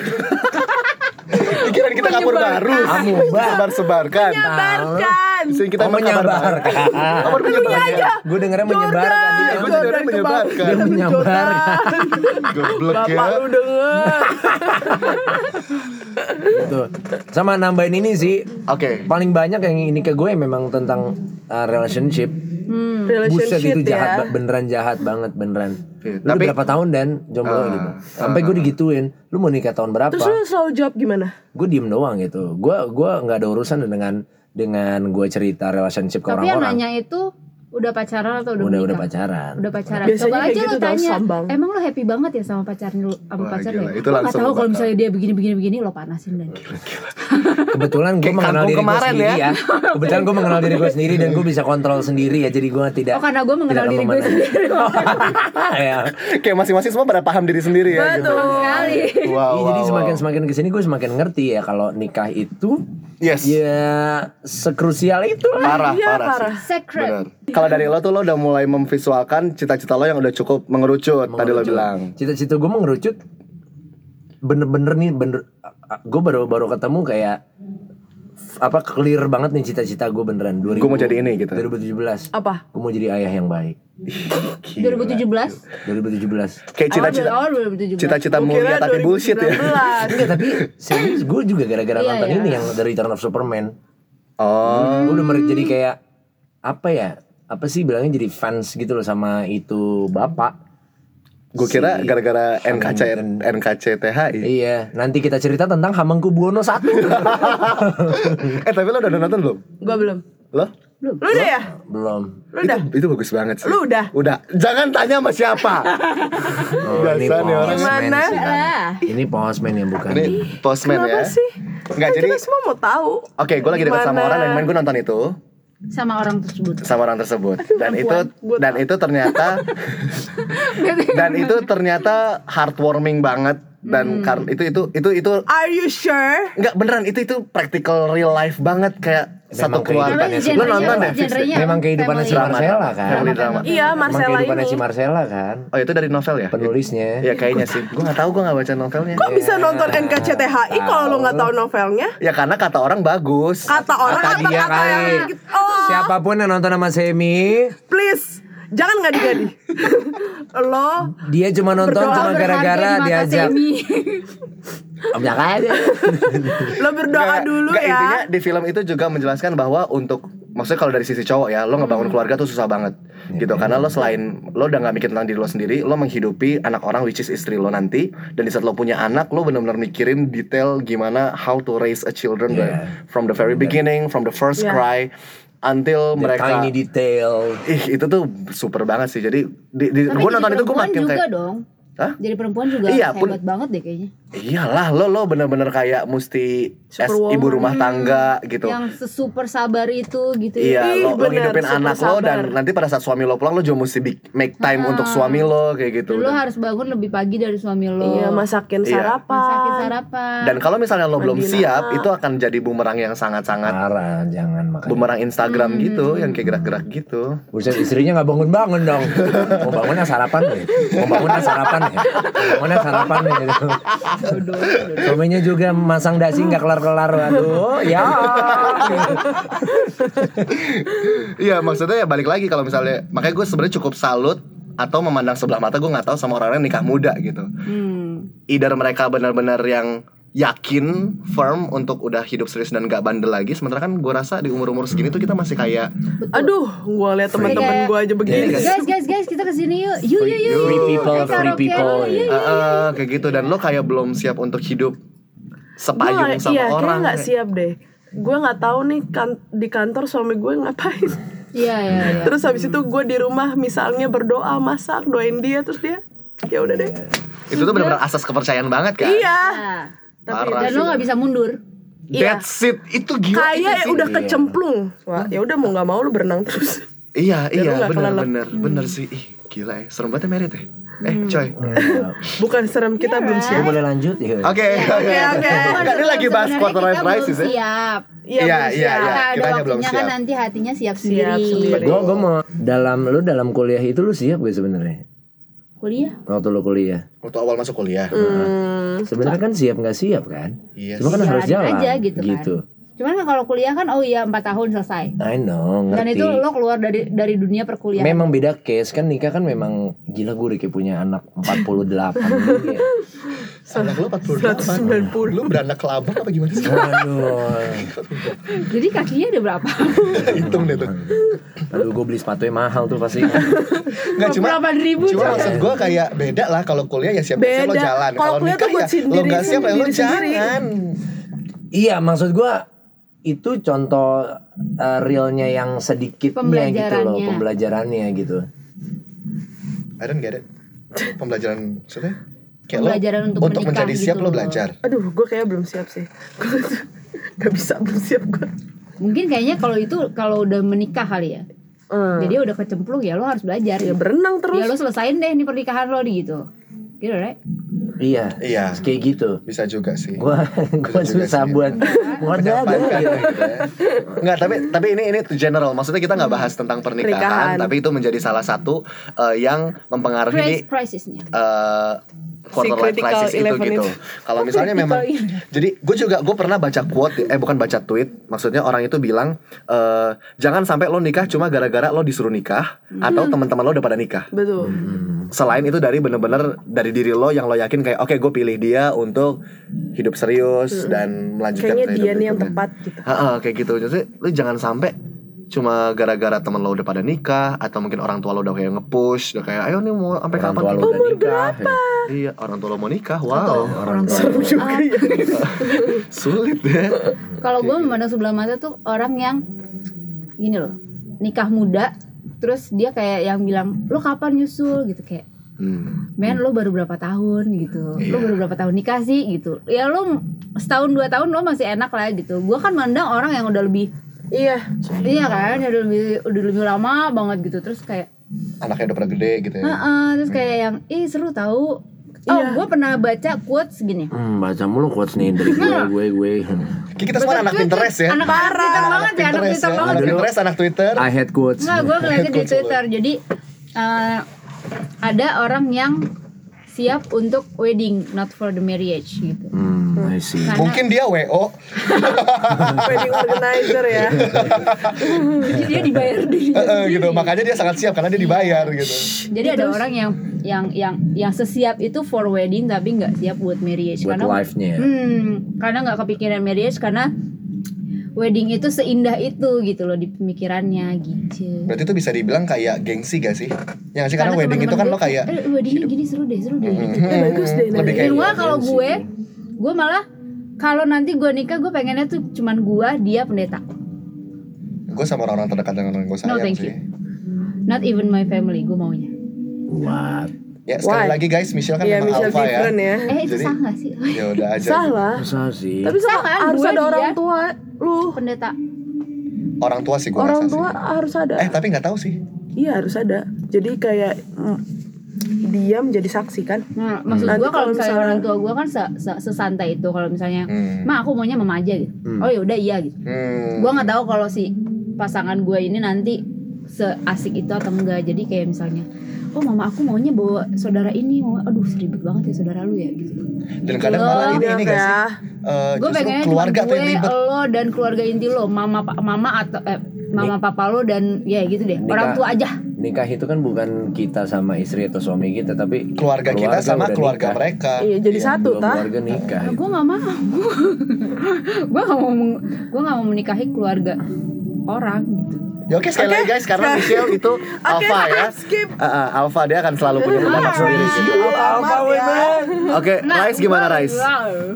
A: Pikiran kita kabur baru.
B: Amuba.
A: Sebar sebarkan.
C: Menyebarkan
A: Sering kita
B: Oh,
A: emang kabar baru.
B: menyebarkan.
A: Kabar menyebarkan.
B: gue dengernya menyebarkan
A: Iya, gua juga dengar menyebarkan.
B: dia menyebarkan
A: Goblok ya.
C: Bapak lu denger
B: Gitu. sama nambahin ini sih
A: Oke.
B: paling banyak yang ini ke gue memang tentang uh, relationship Buset
C: Hmm,
B: itu
C: Relationship
B: jahat
C: ya
B: ba- beneran jahat banget beneran.
A: Iya,
B: Lu
A: tapi-
B: berapa tahun dan
A: Ah,
B: jomblo gitu. Sampai gue digituin, lu mau nikah tahun berapa?
C: Terus lu selalu jawab gimana?
B: Gue diem doang gitu. Gue gua nggak ada urusan dengan dengan gue cerita relationship ke
D: Tapi yang
B: orang-orang.
D: nanya itu udah pacaran atau udah
B: Udah udah
D: menikah?
B: pacaran.
D: Udah pacaran.
C: Biasanya
D: Coba
C: kayak
D: aja
C: gitu
D: lu
C: dong,
D: tanya.
C: sombong.
D: Emang lo happy banget ya sama pacarnya lu sama
A: Wah,
D: pacarnya?
A: gila,
D: ya?
A: itu
D: Lo nggak
A: langsung
D: tahu
A: lu
D: kalau
A: bakal.
D: misalnya dia begini begini begini lo panasin dan
B: Kebetulan gue
A: Kayak
B: mengenal
A: kampung
B: diri gue
A: kemarin
B: sendiri ya. Kebetulan gue mengenal diri gue sendiri dan gue bisa kontrol sendiri ya. Jadi gue tidak.
D: Oh, karena gue mengenal
B: tidak
D: diri gue
B: kemana-mana.
D: sendiri.
B: ya.
A: Kayak masing-masing semua pada paham diri sendiri ya. gitu.
D: Betul sekali.
A: Wow.
B: Iya,
A: Oh, wow,
B: jadi
A: wow.
B: semakin semakin kesini gue semakin ngerti ya kalau nikah itu
A: Yes.
B: ya sekrusial itu lah.
A: Parah,
C: Iya,
A: parah, sih.
C: parah.
D: Secret.
A: Benar. Kalau dari lo tuh lo udah mulai memvisualkan cita-cita lo yang udah cukup mengerucut tadi lo
B: Mengerucut.
A: bilang.
B: Cita-cita gue mengerucut bener-bener nih bener gue baru baru ketemu kayak f- apa clear banget nih cita-cita gue beneran 2000
A: Gua mau jadi ini gitu.
B: 2017
C: Apa?
B: gue mau jadi ayah yang baik
D: 2017.
B: 2017
A: Gitu. Kayak cita-cita
D: Awal, awal 2017.
A: cita-cita mulia
C: Kira
A: tapi bullshit ya.
C: 2019.
B: enggak tapi serius gue juga gara-gara
D: Iya,
B: nonton
D: iya.
B: ini yang dari Return of Superman
A: Oh.
B: gue udah mer- jadi kayak apa ya apa sih bilangnya jadi fans gitu loh sama itu bapak
A: Gue kira
B: Si-
A: gara-gara NKC
B: Hamilton.
A: NKCTHI.
B: Iya, nanti kita cerita tentang Hamengkubuwono satu.
A: eh tapi lo udah
C: Hmm.
A: nonton belum?
C: Gua belum
A: Lo?
C: Lu udah ya?
B: Belum.
C: Lu udah?
A: Itu bagus banget sih.
C: Lu udah?
A: Udah. Jangan tanya sama siapa.
B: Oh,
A: Biasa
B: ini
A: nih orang.
B: postman
C: Gimana?
B: sih, Tan. Ini postman yang bukan.
A: Ini postman
C: Kenapa
A: ya.
C: sih?
A: Enggak
C: Kan
A: jadi.
C: kita semua mau tahu
A: Oke, gue lagi dekat sama
C: Gimana?
A: orang dan main gue nonton itu
D: Sama orang tersebut.
A: sama orang tersebut dan itu
C: perempuan. Gua
A: dan itu ternyata dan itu ternyata heartwarming banget
C: Hmm.
A: dan kar- itu itu itu itu
C: Are you sure?
A: Enggak beneran itu itu practical real life banget kayak satu
B: Memang
A: keluarga.
B: kehidupannya
A: Lo
D: genre-nya-
A: nonton ya? deh.
D: genre-nya apa?
B: Memang kehidupannya si
D: Family.
B: Marcella kan.
A: Iya, Family drama.
C: Iya,
B: Memang
C: Marcella
B: kehidupannya
C: ini.
B: si Marcella Iya. kan.
A: Oh itu dari novel ya?
B: Penulisnya.
A: Ya kayaknya sih. Gue nggak tahu gue nggak baca novelnya.
C: Kok bisa nonton NKCTHI
A: Iya.
C: kalau lu nggak tahu novelnya?
A: Ya karena kata orang bagus.
C: Kata orang
B: Kata
C: kata
B: dia
C: kata
B: kali.
C: yang Oh,
B: Siapapun yang nonton sama Semi,
C: please. Jangan ngadi-ngadi. Lo
B: dia cuma nonton
C: Berdoa
B: cuma
D: Berharga
B: gara-gara
D: di mata
B: diajak.
D: Semi.
B: Objak aja.
C: lo berdoa
A: Nggak-
C: dulu
A: nggak, Intinya
C: ya.
A: di film itu juga menjelaskan bahwa untuk maksudnya kalau dari sisi cowok ya, lo
D: Hmm.
A: ngebangun keluarga tuh susah banget gitu. Karena lo selain lo udah nggak mikir tentang diri lo sendiri, lo menghidupi anak orang which is istri lo nanti. Dan di saat lo punya anak, lo benar-benar mikirin detail gimana how to raise a children
B: Yeah.
A: from the very beginning, from the first
D: Iya.
C: Yeah.
A: cry until
B: The
A: mereka
B: Tiny detail.
A: Ih, itu tuh super banget sih. Jadi di, di,
D: Tapi
A: gue
D: jadi
A: nonton itu gue
D: perempuan
A: makin
D: juga
A: kayak
D: dong.
A: Hah?
D: Jadi perempuan juga
A: Iya,
D: hebat
A: pun-
D: banget deh kayaknya.
A: iyalah lo lo bener-bener kayak mesti es,
C: Superwoman.
A: ibu rumah tangga gitu.
D: Yang super sabar itu gitu ya.
A: Iya,
C: Ih,
A: lo, lo
C: bener,
A: ngidupin
C: super
A: anak lo dan
C: sabar. Ah.
A: nanti pada saat suami lo pulang lo juga mesti bik- make time untuk suami lo kayak gitu.
D: Lu
A: Dan-
D: harus bangun lebih pagi dari suami lo.
C: Iya, masakin
A: Iya.
D: Masakin
C: sarapan.
D: sarapan.
A: Dan kalau misalnya lo belum
C: Mandi
A: siap,
C: anak.
A: itu akan jadi bumerang yang sangat-sangat
B: Parah, jangan makan.
A: bumerang Instagram
C: Hmm.
A: gitu, yang kayak gerak-gerak gitu.
B: Buset istrinya nggak bangun bangun dong. Mau bangun yang sarapan nih. Mau bangun yang sarapan nih. Mau bangun yang sarapan nih. Gitu. Suaminya juga masang dasi nggak kelar kelar. Aduh, ya.
A: Iya maksudnya ya balik lagi kalau misalnya makanya gue sebenarnya cukup salut atau memandang sebelah mata gue nggak tahu sama orang-orang yang nikah muda gitu.
C: Hmm.
A: Either mereka benar-benar yang yakin firm untuk udah hidup serius dan gak bandel lagi sementara kan gue rasa di umur-umur segini tuh kita masih kayak
C: Aduh, gua lihat teman-teman gua
A: Iya,
C: aja begini.
D: Guys, guys, guys, guys, kita kesini yuk. Yuk, yuk, yuk.
B: Free people,
D: Ayo
B: free
D: karaoke,
B: people.
D: yuk, yuk.
A: eh, eh, kayak gitu dan lo kayak belum siap untuk hidup sepayung
C: Gua nggak-
A: sama
C: iya, kayaknya
A: orang
C: nggak siap deh. Gue nggak tahu nih kan- di kantor suami gue ngapain.
D: Iya, iya, iya.
C: Terus habis itu gue di rumah misalnya berdoa masak doain dia terus dia ya udah deh.
A: itu tuh benar-benar asas kepercayaan banget kan
C: Iya.
D: Nah,
A: Parah
D: Dan
A: sih.
D: lo gak bisa mundur.
C: Iya.
A: that's it itu gila itu
C: Kayak ya
A: sih.
C: udah kecemplung. Wah, ya udah mau nggak mau lu berenang terus.
A: iya
C: lu
A: iya
C: nggak kelelep. Hmm.
A: benar-benar benar sih Ih, gila ya serem banget ya merit ya Eh, coy.
C: Bukan serem
A: Iya.
C: kita belum
B: Gue
D: Eh,
C: siap.
B: boleh lanjut ya?
D: Iya.
A: Oke.
C: Iya, Oke, oke.
A: Nggak, Ini lagi bahas
D: Sebenarnya
A: quarter life
D: kita belum
A: crisis ya.
D: Siap.
A: Iya,
C: belum
A: iya,
C: siap.
A: iya.
D: Kita ada
A: Kitanya belum
D: waktunya kan
A: siap.
D: nanti hatinya siap
C: Siap
D: sendiri.
C: sendiri.
B: Gue gue mau dalam lu dalam kuliah itu lu siap gak sebenarnya?
D: Kuliah.
B: Waktu lu kuliah.
A: Waktu awal masuk kuliah.
C: Hmm,
B: Sebenarnya kan siap nggak siap kan?
A: Iya.
B: Cuma kan harus jalan.
D: Jalanin aja gitu kan. Cuman kalau kuliah kan oh iya 4 tahun selesai.
B: I know, ngerti.
D: Dan itu lo keluar dari dari dunia perkuliahan.
B: Memang beda case kan nikah kan memang gila gue Ricky punya anak 48 Kayak,
A: Anak lu 48. Lu beranak kelabang apa gimana sih?
B: Waduh
D: Jadi kakinya ada berapa?
A: Hitung deh tuh.
B: Aduh gue beli sepatunya mahal tuh pasti
A: Enggak cuma
D: Berapa ribu
A: Cuma
D: coba?
A: maksud gue kayak beda lah kalau kuliah ya siap-siap lo
C: Beda.
A: jalan.
C: Kalau
A: Kalau
C: kuliah
A: nikah
C: tuh
A: ya
C: buat
A: lo
C: sendiri-
A: nggak siap ya lo
C: sendiri- sendiri.
A: jangan.
B: Iya maksud gue itu contoh uh, realnya yang sedikitnya gitu loh
D: Pembelajarannya.
B: Pembelajarannya gitu
A: I don't get it. Pembelajaran maksudnya? Kayak
D: Pembelajaran
A: lo,
D: untuk
A: untuk
D: menikah
A: menjadi
D: gitu
A: siap lo
D: loh.
A: belajar.
C: aduh, gue kayak belum siap sih. Gua- Gak bisa belum siap gue.
D: Mungkin kayaknya kalau itu kalau udah menikah kali ya. Jadi udah kecemplung ya lo harus belajar.
C: Hmm. Ya
D: Ya,
C: berenang terus.
D: lo selesain deh nih pernikahan lo nih gitu. Gitu right?
B: Iya
A: Iya.
B: Kayak gitu
A: Bisa juga sih.
B: Gue
A: Bisa juga
B: susah
A: sih.
B: buat
D: Iya.
B: Buat Iya.
A: Menyampaikan gitu ya. Nggak, tapi tapi ini ini general. Maksudnya kita nggak bahas tentang pernikahan,
C: Hmm. Pernikahan.
A: tapi itu menjadi salah satu eh, yang mempengaruhi di
D: Crisis, crisisnya.
A: eh, quarter
C: Si
A: life
C: critical
A: crisis itu
C: 11
A: gitu.
C: itu.
A: Kalau misalnya memang, jadi gue juga gue pernah baca quote, eh bukan baca tweet, maksudnya orang itu bilang eh, jangan sampai lo nikah cuma gara-gara lo disuruh nikah atau
C: Hmm.
A: teman-teman lo udah pada nikah.
C: Betul.
A: Hmm, Selain itu dari bener-bener dari diri lo yang lo yakin kayak oke gue pilih dia untuk hidup serius dan melanjutkan
C: Hmm. Kayaknya
A: ke hidup
C: dia nih yang
A: berikutnya."
C: tepat gitu.
A: Ha-ha, kayak gitu. Jadi lu jangan sampai cuma gara-gara temen lo udah pada nikah atau mungkin orang tua lo udah kayak nge-push, udah kayak ayo nih mau sampai
B: Orang
A: kapan
B: tua lo
A: kita-
B: udah nikah ya.
A: Iya, orang tua lo mau nikah.
D: Atau
A: Wow,
D: orang tua.
C: Seru juga ya.
A: sulit ya.
D: Kalau gue memandang sebelah mata tuh orang yang gini loh, nikah muda, terus dia kayak yang bilang lo kapan nyusul gitu kayak,
A: Hmm.
D: men lo baru berapa tahun gitu, lo
A: Iya.
D: baru berapa tahun nikah sih gitu, ya lo setahun dua tahun lo masih enak lah gitu. Gue kan mandang orang yang udah lebih,
C: Iya.
D: iya kan, udah lebih udah lebih lama banget gitu, terus kayak,
A: Anaknya udah pada gede gitu ya.
D: "Heeh," terus kayak yang, ih seru tahu. Oh,
C: Iya.
D: gue pernah baca quotes gini.
B: Hmm, baca mulu quotes nih dari gue, gue, gue.
A: Kayak kita semua anak
D: Betul,
A: Pinterest ya.
D: Anak parah banget ya, anak
A: Pinterest
D: pinter
A: ya.
D: banget.
A: Anak Pinterest, anak Twitter.
B: I had quotes.
D: Enggak, gue ngeliatin di Twitter. Jadi eh, ada orang yang siap untuk wedding, not for the marriage gitu.
B: Hmm, I see.
D: Karena-
A: Mungkin dia WO.
C: Wedding organizer
A: Iya,
C: ya.
D: Jadi dia dibayar diri.
A: eh, eh, gitu. Makanya dia sangat siap karena dia dibayar gitu.
D: Jadi ada orang yang yang yang yang sesiap itu for wedding tapi nggak siap buat marriage
B: Buat
D: karena
B: life-nya ya.
D: Hmm, karena nggak kepikiran marriage karena wedding itu seindah itu gitu loh di pemikirannya gitu.
A: Berarti itu bisa dibilang kayak gengsi gak sih? Ya nggak sih karena, wedding itu
D: teman-teman
A: kan lo
D: gue,
A: kayak
D: eh, weddingnya gini seru deh, seru deh gitu.
A: "Hmm,
C: bagus deh,
A: lebih
D: Di
A: kayak
D: luar kalau gue, gue malah kalau nanti gue nikah gue pengennya tuh cuman gue dia pendeta.
A: gue sama orang-orang terdekat dengan orang gue sayang
D: No thank
A: sih.
D: you. Not even my family gue maunya.
B: What?
A: Ya sekali
C: Why?
A: lagi guys, Michelle kan
C: Iya,
A: memang
C: Michelle
A: alpha ya.
C: different ya.
D: Eh itu
A: Jadi-
D: sah gak sih?
A: Ya udah aja. Iya.
C: Salah.
B: Masa sih?
C: Tapi sama
D: Salah,
C: harus
D: gue
C: ada
D: dia.
C: orang tua lu.
D: Pendeta.
A: Orang tua sih gue
C: Orang
A: rasa
C: tua
A: sih.
C: harus ada.
A: Eh tapi nggak tahu sih.
C: Iya harus ada. Jadi kayak mm, dia menjadi saksi kan.
D: Nah, maksud
C: Nanti
D: gue kalau
C: kalau
D: misalnya
C: misalnya-
D: orang tua gue kan se- se- sesantai itu kalau misalnya,
A: Hmm.
D: ma aku maunya mama aja gitu. Oh ya udah iya gitu.
A: Hmm.
D: Gue nggak tahu kalau si pasangan gue ini nanti seasik itu atau enggak. Jadi kayak misalnya, oh mama aku maunya bawa saudara ini, mau- aduh seribet banget ya saudara lu ya gitu.
A: Dan kadang malah ini
C: Iya
A: ini gak sih?
C: kan?
A: Eh, Oh,
D: gue
A: justru
D: pengennya
A: keluarga tuh
D: cuma
A: yang
D: gue,
A: ribet.
D: lo dan keluarga inti lo, mama pa- mama atau eh, mama papa lo dan ya gitu deh,
B: Nikah.
D: orang tua aja.
B: Nikah itu kan bukan kita sama istri atau suami kita, tapi
A: Keluarga kita sama
B: udah
A: keluarga
B: nikah.
A: mereka.
C: Iya jadi
B: Iya,
C: satu
B: dua
C: tah.
B: Keluarga nikah.
D: gue nggak mau, gue nggak mau, meng- gue nggak mau menikahi keluarga orang gitu.
A: Ya oke sekali lagi guys karena Michelle itu alpha ya.
C: skip.
A: Eh, eh, alpha dia akan selalu punya pendapat sendiri. gitu.
C: Apa women?
A: Oke, Rice gimana Rice?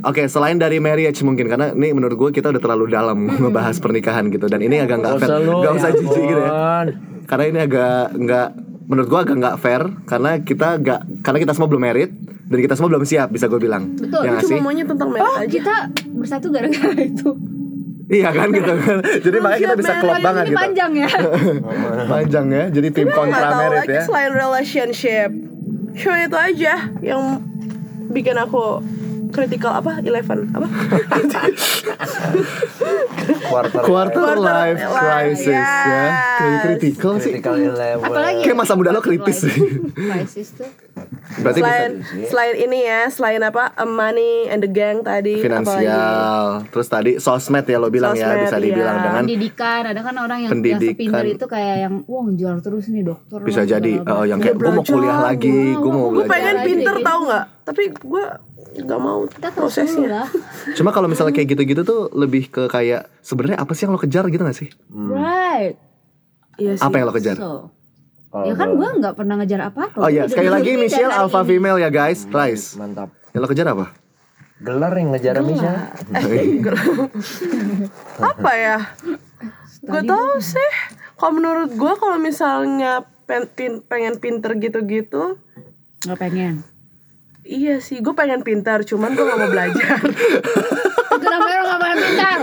A: Oke, selain dari marriage mungkin karena ini menurut gue kita udah terlalu dalam ngebahas pernikahan gitu dan ini agak nggak fair,
B: lu,
A: nggak usah
B: ya
A: jijik gitu ya.
B: ampun.
A: karena ini agak nggak menurut gua agak nggak fair karena kita nggak karena kita semua belum merit dan kita semua belum siap bisa gue bilang
D: Betul,
A: ya nggak
C: Cuma
A: sih
C: maunya tentang merek
D: Oh
C: aja.
D: kita bersatu gara-gara itu.
A: iya kan gitu kan jadi makanya kita bisa klop
D: Ini
A: banget gitu
D: panjang ya.
A: panjang ya jadi tim kontra
C: Nggak tahu
A: merit
C: lagi
A: ya
C: selain relationship. cuma itu aja yang bikin aku critical apa eleven apa
B: quarter
A: Quarter life
C: life
A: crisis ya. Kayak
C: yes.
A: critical sih.
B: critical level
D: Apalagi
A: Kayak masa muda lo kritis sih.
D: Crisis tuh
A: Berarti bisa
C: selain selain ini ya selain apa a money and the gang tadi apalagi?
A: finansial. Terus tadi sosmed ya lo bilang ya
C: Sosmed,
A: bisa dibilang
C: iya.
A: dengan
D: pendidikan ada kan orang yang yang
A: Pendidikan.
D: sepinter itu kayak yang wah ngejar terus nih dokter
A: bisa
D: lah,
A: jadi
D: segala
A: eh, yang
D: macam." Iya,
A: kayak gue mau
C: Iya. belajar,
A: kuliah lagi, gue mau
C: gue
A: belajar.
C: pengen
D: Belajar.
C: pinter tau nggak tapi gue nggak mau
A: ya.
D: kita terus dulu
C: prosesnya
D: lah
A: Cuma kalau misalnya kayak gitu-gitu tuh lebih ke kayak sebenarnya apa sih yang lo kejar gitu gak sih?
D: right
C: iya sih
A: Apa
D: ya?
A: yang lo kejar?
D: so
B: Kalau
D: ya kan
B: gua-
D: gue nggak pernah ngejar apa apa
A: Oh iya, sekali lagi Michelle alpha female ya guys, Rice.
B: mantap
A: Yang lo kejar apa?
B: gelar yang ngejar Misha
C: apa ya gue tau sih kalau menurut gue kalau misalnya pen- pin- pengen pinter gitu-gitu
D: nggak pengen
C: iya sih gue pengen pinter cuman gue gak mau belajar
D: kenapa lo nggak pengen pintar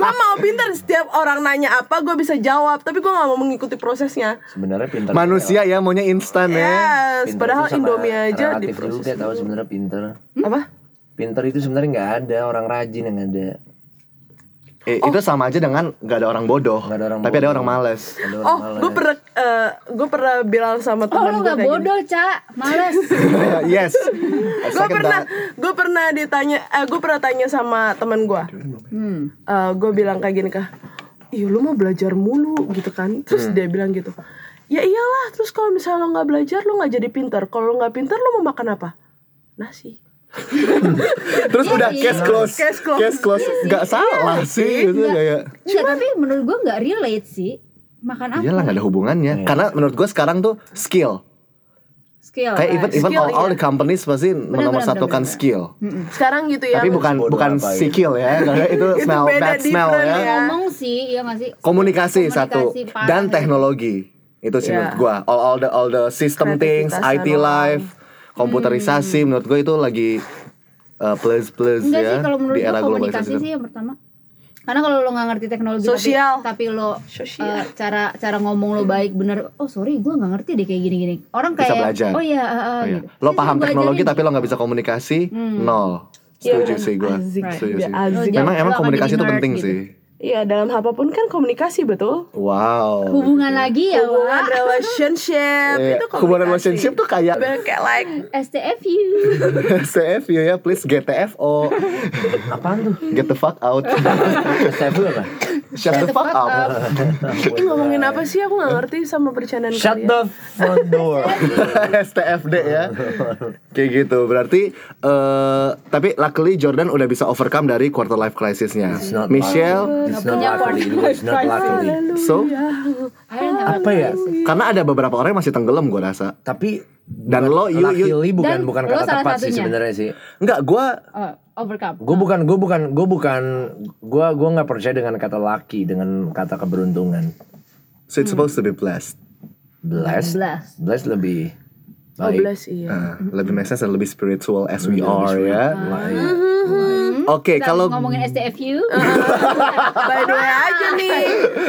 C: gue mau pinter setiap orang nanya apa gue bisa jawab tapi gue gak mau mengikuti prosesnya
B: sebenarnya pinter
A: Manusia ya maunya
C: Iya,
A: instan ya.
C: yes
B: Pinter
C: padahal
B: itu sama
C: indomie aja Hmm? di
B: relatif juga tahu sebenarnya pinter
C: apa
B: pinter itu sebenarnya nggak ada orang rajin yang ada
A: Eh,
C: Oh.
A: Itu sama aja dengan gak ada orang bodoh,
B: Nggak ada orang
A: tapi ada
B: bodoh.
A: orang males.
B: ada orang
C: oh gue pernah gue pernah bilang sama
D: oh lo
C: temen gue
D: nggak bodoh cak males
A: yes.
C: gue
A: Second
C: pernah
A: that.
C: gue pernah ditanya eh, gue pernah tanya sama temen gue
D: hmm.
C: gue Eh, bilang kayak gini kah iya lu mau belajar mulu gitu kan terus
A: Hmm.
C: dia bilang gitu ya iyalah terus kalau misalnya lo nggak belajar lo nggak jadi pintar kalau lo nggak pintar lo mau makan apa nasi
A: Terus udah
D: sih.
A: case close.
C: Iya, Case close. Iya
A: Case close. Gak salah sih itu kayak.
D: Nggak, tapi menurut gue nggak relate sih makan apa
A: Iyalah gak ada hubungannya. Karena menurut gue sekarang tuh skill.
D: skill
A: Kayak even
D: right.
A: even
C: Skill, iya.
A: all, all the companies pasti menomorsatukan
D: benar,
A: skill.
C: sekarang gitu ya
A: Tapi bukan
B: Bodoh
A: bukan
B: apa ya?
A: skill ya. Karena itu
C: Itu
A: smell
C: beda,
A: bad smell ya.
C: different ya.
D: Kan ngomong sih iya nggak sih
A: Komunikasi, satu
D: Komunikasi, parah
A: dan
D: sih.
A: teknologi. Itu sih
C: Iya.
A: menurut gue. All all the all the system things,
C: Kreativitas
A: IT
C: orang.
A: life, komputerisasi menurut gue itu lagi uh, plus plus
D: Hmm. Enggak
A: ya
D: sih kalau menurut
A: di
D: gue
A: era
D: komunikasi
A: globalisasi.
D: sih yang pertama. Karena kalau lo nggak ngerti teknologi tapi-
C: Sosial.
D: tapi, lo
C: Sosial.
D: eh, cara cara ngomong lo baik bener. Oh sorry gue nggak ngerti deh kayak gini-gini. Orang
A: Bisa
D: kayak
A: belajar.
D: oh iya eh, eh,"
A: Oh, iya.
D: gitu.
A: Lo
D: Terus
A: paham
D: gua
A: teknologi
D: ajarin.
A: tapi lo nggak bisa komunikasi
D: Hmm.
A: nol.
D: Iya,
A: Setuju sih gue.
C: Azik,
A: Setuju
C: dia
A: sih.
C: azik.
A: Memang
D: Lo
A: emang
D: akan
A: komunikasi
D: jadi
A: itu
D: nerd
A: penting
D: gitu.
A: sih.
C: iya dalam apapun kan komunikasi betul
A: Wow.
D: hubungan lagi ya
C: hubungan
D: Wak.
C: relationship
A: Eh,
C: itu
A: hubungan
C: komunikasi.
A: relationship tuh kayak
C: kayak like
D: STFU.
A: CF ya please GTFO
B: apaan tuh
A: get the fuck out
B: Stable apa
A: shut the fuck up Ah,
C: ini ngomongin apa sih aku nggak ngerti sama bercandaan
B: shut
C: kalian
B: the front door
A: STFD ya kayak gitu berarti eh tapi luckily Jordan udah bisa overcome dari quarter life crisisnya
B: It's not
A: Michelle
B: luckily. it's not luckily Itu it's not luckily
A: so
D: Ayo, nggak apa-apa.
B: apa ya
A: karena ada beberapa orang yang masih tenggelam gue rasa
B: tapi
A: Dan lo- you- you-
B: luckily bukan
D: Dan
B: bukan
D: lo
B: kata
D: salah
B: tepat sih
D: satunya.
B: sebenarnya sih
A: Enggak gue
D: Eh, overcome.
B: gue bukan gue bukan gue bukan gue gue nggak percaya dengan kata laki dengan kata keberuntungan
A: so it's supposed to be blessed
B: blessed
D: Blessed.
B: blessed lebih
C: oh
B: baik
C: bless iya
A: Nah, lebih make sense dan lebih spiritual as we are ya
B: Baik.
D: Mm-hmm.
A: Hmm. oke
D: Kita
A: kalau
D: ngomongin STFU.
C: by the way aja nih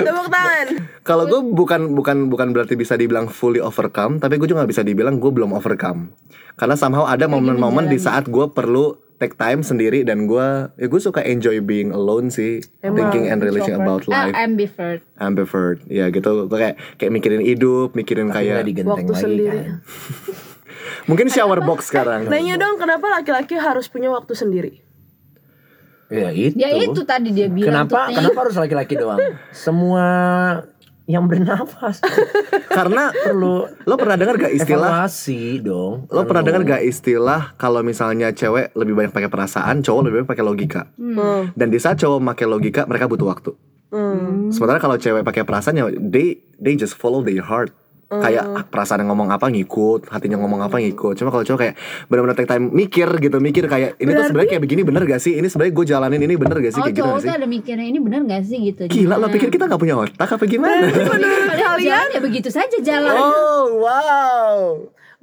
C: tepuk tangan
A: Kalau gue bukan bukan bukan berarti bisa dibilang fully overcome, tapi gue juga nggak bisa dibilang gue belum overcome. Karena somehow ada momen-momen di saat gue perlu take time sendiri dan gue ya gue suka enjoy being alone sih, thinking and relating about
D: Ah,
A: life.
D: ambivert.
A: Ambivert, ya gitu. Gue kayak kayak mikirin hidup, mikirin
B: Nggak
A: kayak
B: digenteng
C: waktu
B: lagi
C: sendiri.
B: kan
A: mungkin shower box sekarang.
C: nanya Nah, iya dong kenapa laki-laki harus punya waktu sendiri
B: ya itu
D: Ya itu tadi dia bilang.
B: kenapa
D: tuh, "Oh, eh. Ti.
B: kenapa harus laki-laki doang semua yang bernafas
A: Karena
B: perlu
A: lo pernah dengar gak istilah?
B: evaluasi dong
A: Lo pernah
B: Perlu.
A: dengar gak istilah kalau misalnya cewek lebih banyak pakai perasaan, cowok lebih banyak pakai logika.
C: Hmm.
A: Dan di saat cowok pakai logika, mereka butuh waktu. Sementara kalau cewek pakai perasaan ya they they just follow their heart. Kayak ah, perasaan yang ngomong apa ngikut, hatinya ngomong apa ngikut. Cuma kalau cowok kayak benar-benar take time mikir gitu, mikir kayak ini tuh sebenarnya kayak begini bener gak sih? Ini sebenarnya gue jalanin ini bener gak sih
D: Oh
A: kayak gitu
D: cowok
A: gak
D: tuh
A: sih?
D: ada mikirnya ini benar nggak sih gitu.
A: Gila lo pikir kita gak punya otak apa gimana?
D: Padahal jalan ya begitu saja jalan.
A: oh wow.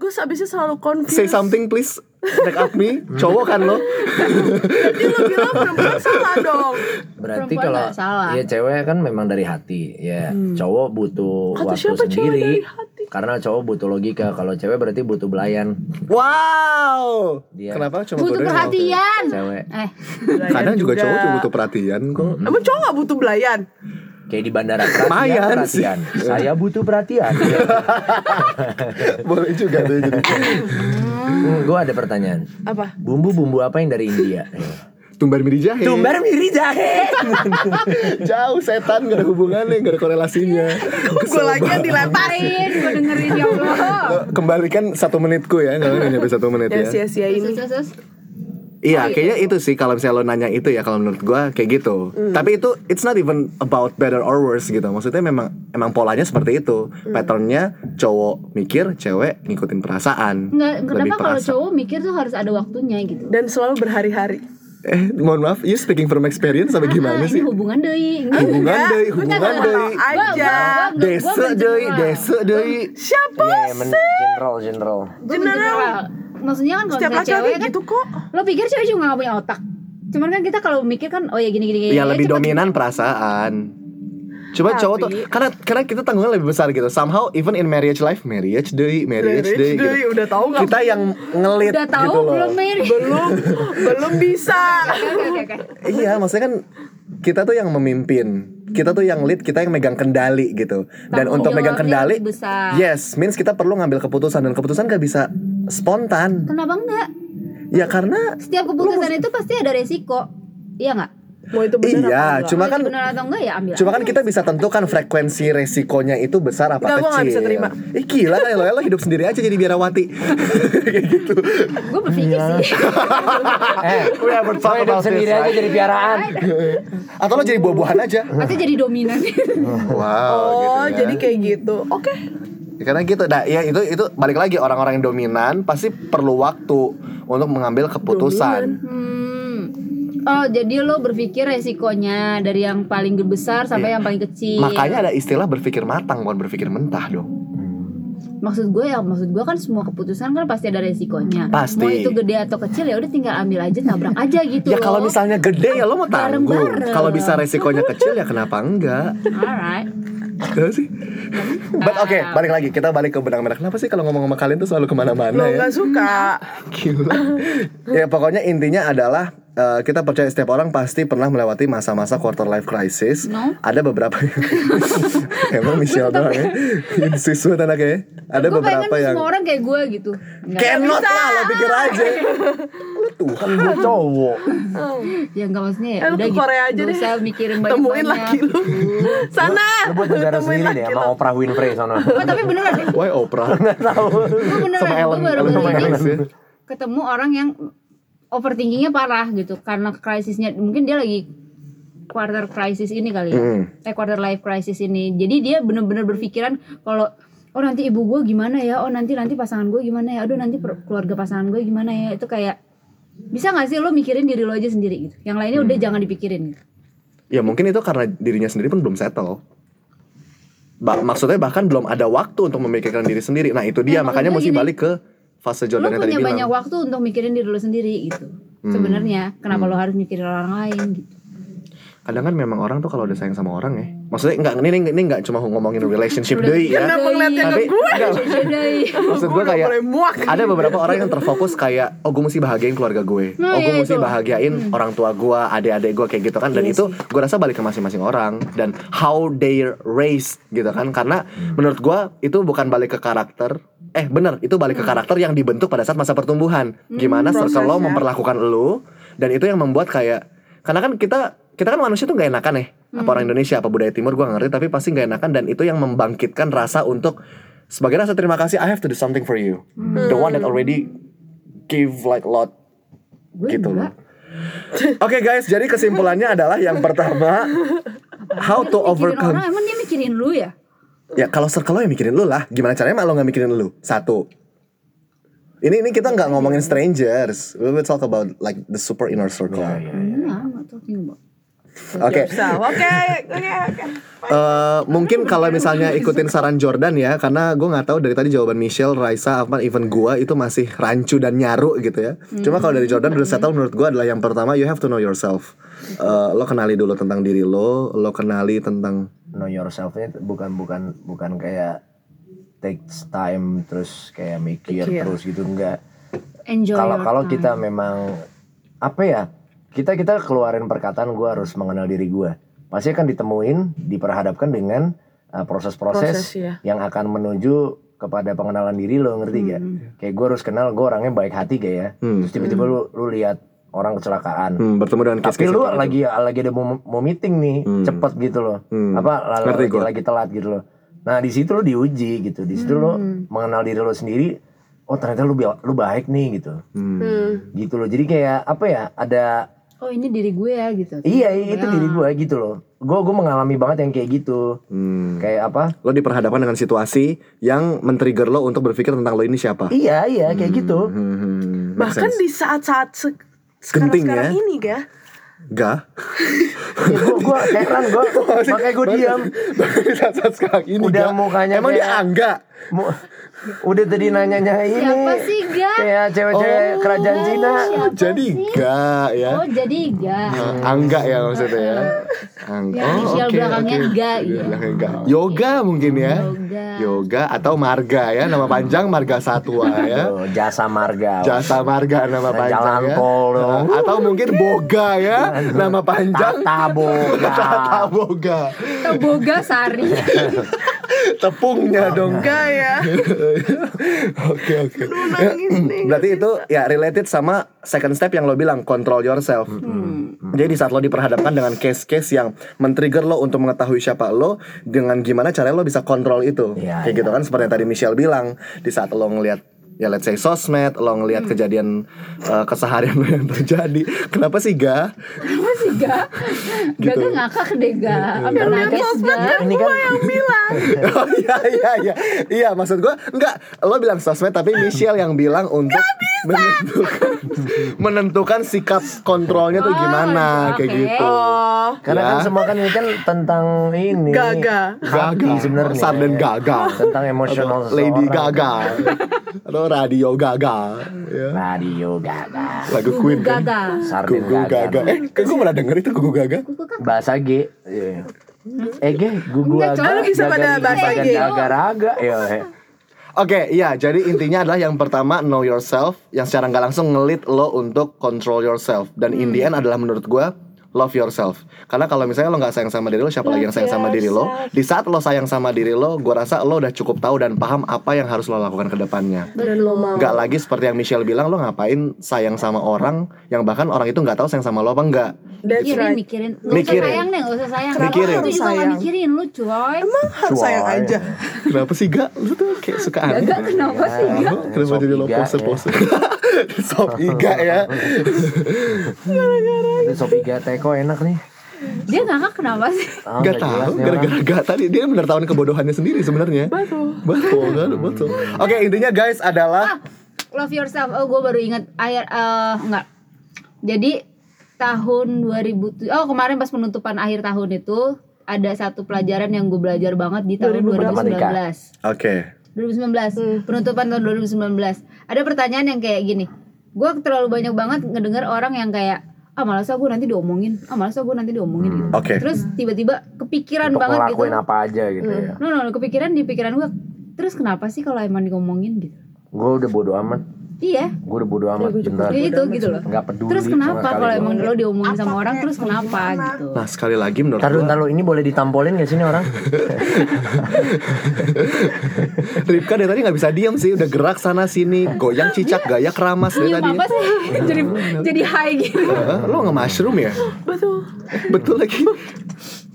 C: gue abisnya selalu
A: Say
C: confused
A: something please. Back up me, cowok kan lo.
C: jadi lo bilang perempuan salah dong
B: berarti
D: Perempuan
B: kalau iya,
D: nggak salah.
B: ya cewek kan memang dari hati ya cowok butuh
C: kata
B: waktu
C: Hmm. siapa cewek
B: sendiri
C: dari hati
B: Karena cowok butuh logika, kalau cewek berarti butuh belayan.
C: Hmm.
A: Wow.
B: Dia-
A: Kenapa cuma
D: butuh
A: godain sama
D: perhatian
B: Cewek
D: eh
A: cewek? Kadang Iya, juga cowok tuh butuh perhatian kok.
C: Emang cowok gak butuh belayan?
B: kayak di bandara perhatian,
A: Lumayan sih.
B: perhatian. Saya butuh perhatian. Iya.
A: Boleh juga tuh jadi.
B: gue Hmm, ada pertanyaan.
C: Apa?
B: Bumbu-bumbu apa yang dari India?
A: Tumbar miri jahe.
B: Tumbar miri jahe.
A: Jauh setan gak ada hubungannya, gak ada korelasinya.
C: Gue lagi yang dilempar
D: parin gue Eh, dengerin ya allah
A: Kembalikan satu menitku ya, kalau nggak nyampe satu menit ya.
C: Dan sia-sia
D: terus
C: ini
D: terus terus Oh,
A: Iya, kayaknya itu sih kalau misalnya lo nanya itu ya kalau menurut gua kayak gitu.
D: Hmm.
A: Tapi itu it's not even about better or worse gitu. Maksudnya memang emang polanya seperti itu.
D: Hmm.
A: Patternnya cowok mikir, cewek ngikutin perasaan.
D: nggak kenapa kalau
A: perasa.
D: cowok mikir tuh harus ada waktunya gitu
C: Dan selalu berhari-hari
A: Eh, mohon maaf, you speaking from experience apa gimana
D: Ah,
A: sih?
D: ini hubungan deh
A: Hubungan
C: Enggak,
A: deui,
C: gue
A: hubungan
C: kagak
A: deui.
C: tahu aja.
A: Desa deui, desa deui.
C: Siapa?
B: Iya, men- general general.
D: general maksudnya kan kalau
C: Setiap
D: misalnya
C: laki-laki
D: cewek kan
C: gitu kok
D: lo pikir cewek juga nggak punya otak cuman kan kita kalau mikir kan oh ya gini gini gini
A: Ya
D: ya
A: lebih
D: cepet.
A: dominan perasaan. Cuma cowok tuh
C: Tapi-
A: karena karena kita tanggungnya lebih besar gitu. Somehow even in marriage life, marriage deui, marriage
C: Marriage
A: deui.
C: deui,
A: gitu.
C: udah tahu nggak?
A: Kita yang ngelit
D: udah tahu
A: gitu loh.
D: belum Mary
C: Belum Belum bisa
D: Oke, oke, oke.
A: Iya, maksudnya kan kita tuh yang memimpin. Kita tuh yang lead, kita yang megang kendali gitu. Dan
D: Tanggung
A: untuk megang
D: jawabnya
A: kendali,
D: lebih besar.
A: yes, means kita perlu ngambil keputusan dan keputusan gak bisa spontan.
D: kenapa enggak
A: Ya karena
D: setiap keputusan itu pasti ada resiko iya nggak
C: Mau itu benar
A: iya, cuma
D: Kalau
A: kan
D: itu benar atau enggak ya ambil
A: Cuma
D: aja.
A: kan kita bisa tentukan frekuensi resikonya itu besar apa
C: Enggak,
A: kecil.
C: gua nggak bisa terima.
A: Ih gila kan lo, lo hidup sendiri aja jadi biarawati. Kayak gitu.
D: gue berpikir
A: Iya.
D: sih
B: Eh,
A: We haven't
B: cowok
A: talked
B: hidup
A: about
B: sendiri
A: this,
B: aja
A: right?
B: jadi piaraan.
A: Atau lo jadi buah-buahan aja.
D: pasti jadi dominan
A: Wow.
C: Oh
A: gitu ya.
C: jadi kayak gitu Oke
A: Ya, karena gitu. Nah, ya itu itu balik lagi orang-orang yang dominan pasti perlu waktu untuk mengambil keputusan.
D: hmm. oh jadi lo berpikir resikonya dari yang paling besar sampai yang paling
A: Iya.
D: kecil
A: Makanya ada istilah berpikir matang bukan berpikir mentah dong.
D: maksud gue ya maksud gue kan semua keputusan kan pasti ada resikonya
A: Pasti.
D: mau itu gede atau kecil ya udah tinggal ambil aja nabrak aja gitu
A: Ya kalau
D: loh.
A: misalnya gede ya lo mau tanggung.
D: Bareng-bareng.
A: Kalau bisa resikonya kecil ya kenapa enggak?
D: alright
A: Kenapa sih? But oke, balik lagi. Kita balik ke benang-benang. Kenapa sih kalau ngomong sama kalian tuh selalu kemana-mana
C: Lo
A: ya?
C: nggak suka
A: Gila. ya pokoknya intinya adalah eh, kita percaya setiap orang pasti pernah melewati masa-masa quarter life crisis.
D: No.
A: Ada beberapa emang Michelle doang ya. Insist banget anaknya. ya. Ada
D: gue pengen
A: beberapa yang
D: semua orang kayak gue gitu Nggak.
A: cannot lah lo pikir aja. Lu
B: Kan
A: Tuhan gue cowok.
D: ya nggak maksudnya ya
C: Eh, lu
D: udah
C: ke
D: gitu
C: Korea aja
D: Nggak
C: deh
D: usah mikirin gitu. banyak
C: Temuin laki lu Sana
B: Lu buat negara
C: Temuin
B: sendiri deh
C: laki
B: sama
C: lu
B: Oprah Winfrey sono.
D: oh, tapi beneran deh
A: Why Oprah?
D: gue beneran
A: Sama Ellen,
D: gue baru
A: Ellen
D: baru ini
A: DeGeneres ya.
D: ketemu orang yang overthinkingnya parah gitu karena krisisnya mungkin dia lagi quarter crisis ini kali ya eh quarter life crisis ini jadi dia bener-bener berpikiran kalau oh nanti ibu gue gimana ya oh nanti nanti pasangan gue gimana ya aduh nanti per- keluarga pasangan gue gimana ya itu kayak bisa gak sih lo mikirin diri lo aja sendiri gitu yang lainnya
A: Mm.
D: udah jangan dipikirin gitu.
A: Ya mungkin itu karena dirinya sendiri pun belum settle. Ba- maksudnya bahkan belum ada waktu untuk memikirkan diri sendiri. Nah itu dia
D: Nah,
A: makanya mesti
D: maksud gue gini,
A: balik ke fase
D: lo
A: Jordan yang tadi
D: punya
A: bilang. Mm.
D: banyak waktu untuk mikirin diri lo sendiri gitu sebenarnya kenapa lo harus mikirin orang lain gitu
A: kadang kan memang orang tuh kalau udah sayang sama orang ya maksudnya nggak ini ini- ini nggak cuma ngomongin relationship doi ya
C: Kenapa ngeliatnya ke
A: Tapi-
C: gue
D: Jadi-
A: maksud
C: Gue
A: gue
C: nggak
A: kayak
C: boleh muak
A: ada beberapa orang yang terfokus kayak oh gue mesti bahagiain keluarga gue
D: Nah,
A: oh gue
D: iya,
A: mesti
C: gitu.
D: itu.
A: bahagiain orang tua gue adik-adik gue kayak gitu kan dan itu gue rasa balik ke masing-masing orang dan how they raise gitu kan karena menurut gue itu bukan balik ke karakter eh bener itu balik ke karakter yang dibentuk pada saat masa pertumbuhan gimana circle lo
C: prosesnya.
A: memperlakukan lo dan itu yang membuat kayak karena kan kita kita kan manusia tuh nggak enakan ya apa orang Indonesia apa budaya Timur gue ngerti tapi pasti nggak enakan dan itu yang membangkitkan rasa untuk sebagai rasa terima kasih I have to do something for you the one that already give like lot
D: Gue
A: gitu
D: enggak.
A: loh Oke guys, jadi kesimpulannya adalah yang pertama how to
D: Dia mikirin
A: overcome.
D: orang, emang dia mikirin lu ya?
A: Ya kalau circle lo yang mikirin lu lah, gimana caranya mak lo nggak mikirin lu? Satu. Ini ini kita nggak ngomongin strangers. We will talk about like the super inner circle.
D: Enggak, enggak talking about.
A: Oke.
C: Bisa, Oke Oke oke
A: Eh, mungkin kalau misalnya ikutin saran Jordan ya karena gue nggak tahu dari tadi jawaban Michelle, Raisa, apa even gua itu masih rancu dan nyaru gitu ya. Cuma kalau dari Jordan udah settle menurut gua adalah yang pertama you have to know yourself. Eh, lo kenali dulu tentang diri lo, lo kenali tentang
B: Know yourself-nya bukan bukan bukan kayak takes time terus kayak mikir
C: Mikir.
B: terus gitu enggak
D: enjoy
B: kalau
D: your
B: kalau
D: time.
B: kita memang apa ya kita kita keluarin perkataan gue harus mengenal diri gue pasti akan ditemuin diperhadapkan dengan uh,
C: proses
B: proses-proses
D: iya.
C: ya
B: yang akan menuju kepada pengenalan diri lo ngerti gak?
D: Hmm.
B: Kayak gue harus kenal gue orangnya baik hati gak ya?
A: Hmm.
B: Terus tiba-tiba lu lu lihat orang kecelakaan.
A: Hmm, bertemu dengan
B: Tapi
A: kes-kes
B: lu
A: seperti itu.
B: lagi lagi ada mau, mau meeting nih,
A: Hmm.
B: cepet gitu loh.
A: Hmm.
B: Apa la-
A: Ngerti
B: lagi,
A: gua.
B: lagi telat gitu loh. Nah, di situ lu diuji gitu. Di situ lu
D: Hmm.
B: mengenal diri lu sendiri. Oh, ternyata lu bi- lu baik nih gitu.
A: Hmm.
B: Gitu loh. Jadi kayak apa ya? Ada
D: oh ini diri gue ya gitu
B: iya itu diri gue gitu loh. Gue gue mengalami banget yang kayak gitu.
A: Hmm.
B: Kayak apa?
A: Lo diperhadapkan dengan situasi yang men-trigger lo untuk berpikir tentang lo ini siapa.
B: Iya, iya kayak gitu.
A: Hmm, hmm, make
C: bahkan
A: sense.
C: di saat-saat se- sekarang
A: Genting ya.
C: sekarang ini ya
A: Gak
B: Ya, gue gue heran gue makanya gue diam
A: Di saat-saat sekarang ini Ga.
B: Udah mukanya
A: Emang dia
B: kayak-
A: angga
B: Mu- udah tadi nanya-nanya ini
D: Siapa sih, Ga?
B: kayak cewek-cewek
A: Oh,
B: kerajaan Cina
D: siapa?
A: Oh, Jadi
D: sih?
A: gak ya
D: oh jadi enggak
A: Angga ya maksudnya ya Oh, Angga
D: Ya, inisial belakangnya Ga, iya.
A: belakangnya Ga. Yoga mungkin ya
D: Yoga.
A: Yoga atau Marga ya Nama panjang Marga Satwa ya
B: Tuh, Gitu, jasa marga
A: Jasa Marga nama
B: Nah,
A: panjang
B: jalan
A: ya.
B: tol dong.
A: Nah, Atau mungkin Boga ya Nama panjang
B: tata boga
A: Tata Boga
D: Teboga Sari
A: Tepungnya dong
C: enggak ya
A: Oke oke.
C: nangis nih,
A: Berarti itu ya related sama second step yang lo bilang control yourself.
B: Hmm,
A: Jadi di saat lo diperhadapkan dengan case-case yang men-trigger lo untuk mengetahui siapa lo, dengan gimana caranya lo bisa kontrol itu.
B: Iya,
A: Kayak
B: iya.
A: gitu kan seperti yang tadi Michelle bilang, di saat lo ngelihat ya let's say sosmed, lo ngelihat kejadian eh, keseharian lo yang terjadi. Kenapa sih ga?
D: Apa sih Ga? Ga
A: Gitu.
D: Ga ngakak deh Ga Sampai nangis Ga
B: ini kan
A: oh iya iya iya. Iya, maksud gua enggak lo bilang sosmed tapi Michelle yang bilang untuk menentukan menentukan sikap kontrolnya tuh
D: Oh,
A: gimana kayak
D: oke.
A: gitu.
C: oh
B: karena kan
A: Ya.
B: semua kan ini kan tentang ini
C: Gaga.
B: hati sebenarnya
A: sarden gagal.
B: tentang emosional
A: Atau Lady
B: seseorang.
A: Gaga. Atau radio gagal. Ya.
B: radio gaga
A: Lagu
D: Gugu
A: Queen kan.
D: Gaga
B: sarden
A: Gugu Gaga. Eh, kan gue pernah denger itu Gugu Gaga.
C: kan
B: bahasa G Iya. eh G gugu aga
D: Enggak, coba lu
C: bisa pada bahasa G.
B: gaga raga ya eh.
A: Oke, iya. Jadi intinya adalah yang pertama know yourself, yang secara nggak langsung ngelit lo untuk control yourself. Dan in the end adalah menurut gua love yourself. Karena kalau misalnya lo nggak sayang sama diri lo, siapa lagi yang sayang sama diri lo? Di saat lo sayang sama diri lo, gua rasa lo udah cukup tahu dan paham apa yang harus lo lakukan ke depannya.
C: dan lo mau
A: Nggak lagi seperti yang Michelle bilang, lo ngapain sayang sama orang yang bahkan orang itu nggak tahu sayang sama lo apa enggak.
C: that's
D: Mikirin,
C: right
D: Iya, mikirin Gak usah
A: Mikirin.
D: sayang deh, gak usah sayang
A: Kenapa Mikirin.
D: Itu
A: harus
D: juga gak
C: sayang?
D: mikirin lu coy
C: emang harus
B: Cuy.
C: sayang aja
A: Kenapa sih gak? Lu tuh kayak suka aneh.
D: Gaga kenapa sih Ga?
A: Lu Kenapa
B: Sob
A: jadi lo
B: iga, ya.
A: pose-pose? Sob iga ya.
B: Itu sop iga teko enak nih
D: Dia ngakak kenapa sih?
B: Ah,
A: Gak
B: jelas
A: tahu
B: nih orang.
A: gara-gara gak tadi dia menertawakan kebodohannya sendiri sebenarnya. Betul. Betul kan? Betul. Oke, intinya guys adalah
D: Ah, Love yourself. Oh, gue baru ingat air eh enggak. Jadi tahun 2000 Oh, kemarin pas penutupan akhir tahun itu ada satu pelajaran yang gue belajar banget di tahun 2019.
A: Oke.
D: 2019.
B: Hmm.
D: Penutupan tahun 2019. Ada pertanyaan yang kayak gini. Gue terlalu banyak banget ngedengar orang yang kayak ah malas ah, gue nanti diomongin. Ah malas ah, gue nanti diomongin gitu.
A: Oke.
D: Terus tiba-tiba kepikiran
B: Hmm, Untuk
D: banget gitu. Hmm.
B: ngelakuin apa aja gitu ya
D: No, no, no, kepikiran di pikiran gue. Terus kenapa sih kalau emang diomongin gitu?
B: Gue udah bodo amat
D: Iya.
B: Gue udah bodo amat bentar
D: Ya itu gitu loh.
B: Nggak peduli
D: Terus
B: sama
D: kenapa
B: sekali
D: kalau
B: gua.
D: emang lo diomongin sama orang terus kenapa gitu?
A: Nah, sekali lagi menurut
B: Ntar dulu,
A: gua
B: ntar dulu, ini boleh ditampolin gak sih ini orang?
A: Ripka dari tadi nggak bisa diam sih, udah gerak sana sini, goyang cicak, gaya keramas dari
D: Nyium
A: tadi.
D: apa sih? jadi jadi high gitu.
A: Hah? Lo nge mushroom ya?
C: betul
A: betul lagi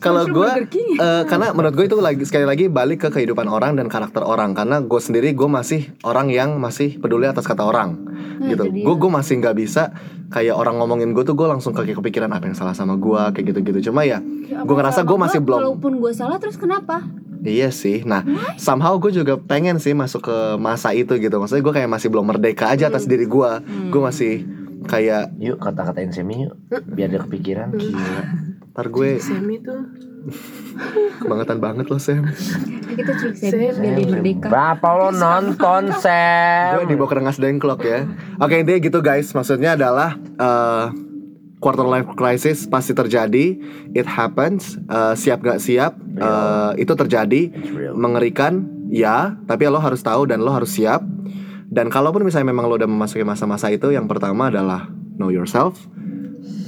A: kalau
D: Mushroom
A: gue
D: Burger King ya?
A: karena menurut gue itu lagi sekali lagi balik ke kehidupan orang dan karakter orang karena gue sendiri gue masih orang yang masih peduli atas kata orang gitu
D: Nah, itu dia.
A: gue gue masih nggak bisa kayak orang ngomongin gue tuh gue langsung kayak kepikiran apa yang salah sama gue kayak gitu gitu cuma ya gue ngerasa gue masih belum
D: Walaupun gue salah terus kenapa?
A: Iya sih. Nah, somehow gue juga pengen sih masuk ke masa itu gitu. Maksudnya gue kayak masih belum merdeka aja
D: Hmm.
A: atas diri gue. Gue masih kayak
B: Yuk kata-katain Semi yuk Biar dia kepikiran Gila.
A: ntar
D: Iya
A: gue
C: Semi tuh
A: kebangetan banget loh Sam.
D: Kita culik Sebi biar dia
B: Sam,
D: merdeka.
B: Berapa lo nonton Sam?
A: Gue dibawa ke rengas dengklok ya. Oke intinya gitu guys, maksudnya adalah eh, quarter life crisis pasti terjadi, it happens, Eh, siap gak siap, eh, itu terjadi,
B: real.
A: mengerikan, ya tapi lo harus tahu dan lo harus siap dan kalaupun misalnya memang lo udah memasuki masa-masa itu yang pertama adalah know yourself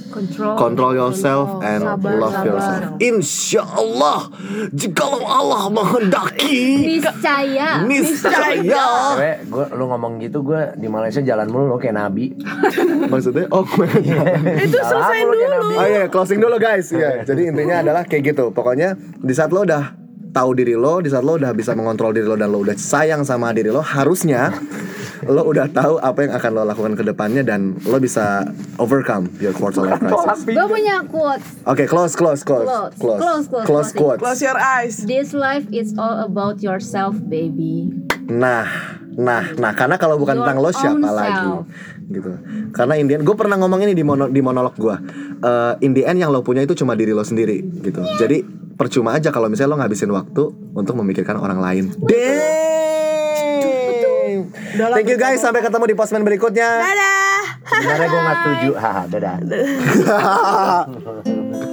D: Control.
A: Control yourself and
C: Sabar,
A: love
C: sabar.
A: yourself. Insya Allah, jikalau Allah menghendaki,
D: Niscaya.
A: niscaya.
B: Cewek, Eh, gua, lu ngomong gitu gue di Malaysia jalan mulu lo kayak nabi.
A: Maksudnya, oh,
C: Itu
B: Jalan
C: selesai
B: mulu kayak
C: dulu.
B: nabi.
A: oh iya, closing dulu guys. Iya, jadi intinya adalah kayak gitu. Pokoknya di saat lo udah tahu diri lo, di saat lo udah bisa mengontrol diri lo dan lo udah sayang sama diri lo, harusnya lo udah tahu apa yang akan lo lakukan ke depannya dan lo bisa overcome your quarter life crisis.
D: Gue punya quotes.
A: Oke, close, close, close,
D: Close,
A: close,
D: close,
A: close,
D: close,
A: close,
D: closing.
A: quotes.
C: Close your eyes.
D: This life is all about yourself, baby.
A: Nah, nah, nah, karena kalau bukan
D: Your
A: tentang lo siapa
D: own
A: lagi,
D: self.
A: gitu. Karena Indian, gue pernah ngomong ini di, mono- di monolog gue. Eh in the end yang lo punya itu cuma diri lo sendiri, gitu. Jadi percuma aja kalau misalnya lo ngabisin waktu untuk memikirkan orang lain. Damn.
C: Dalam
A: Thank you guys, sampai ketemu di posmen berikutnya.
C: Dadah.
B: Sebenarnya gue nggak setuju. Haha, dadah.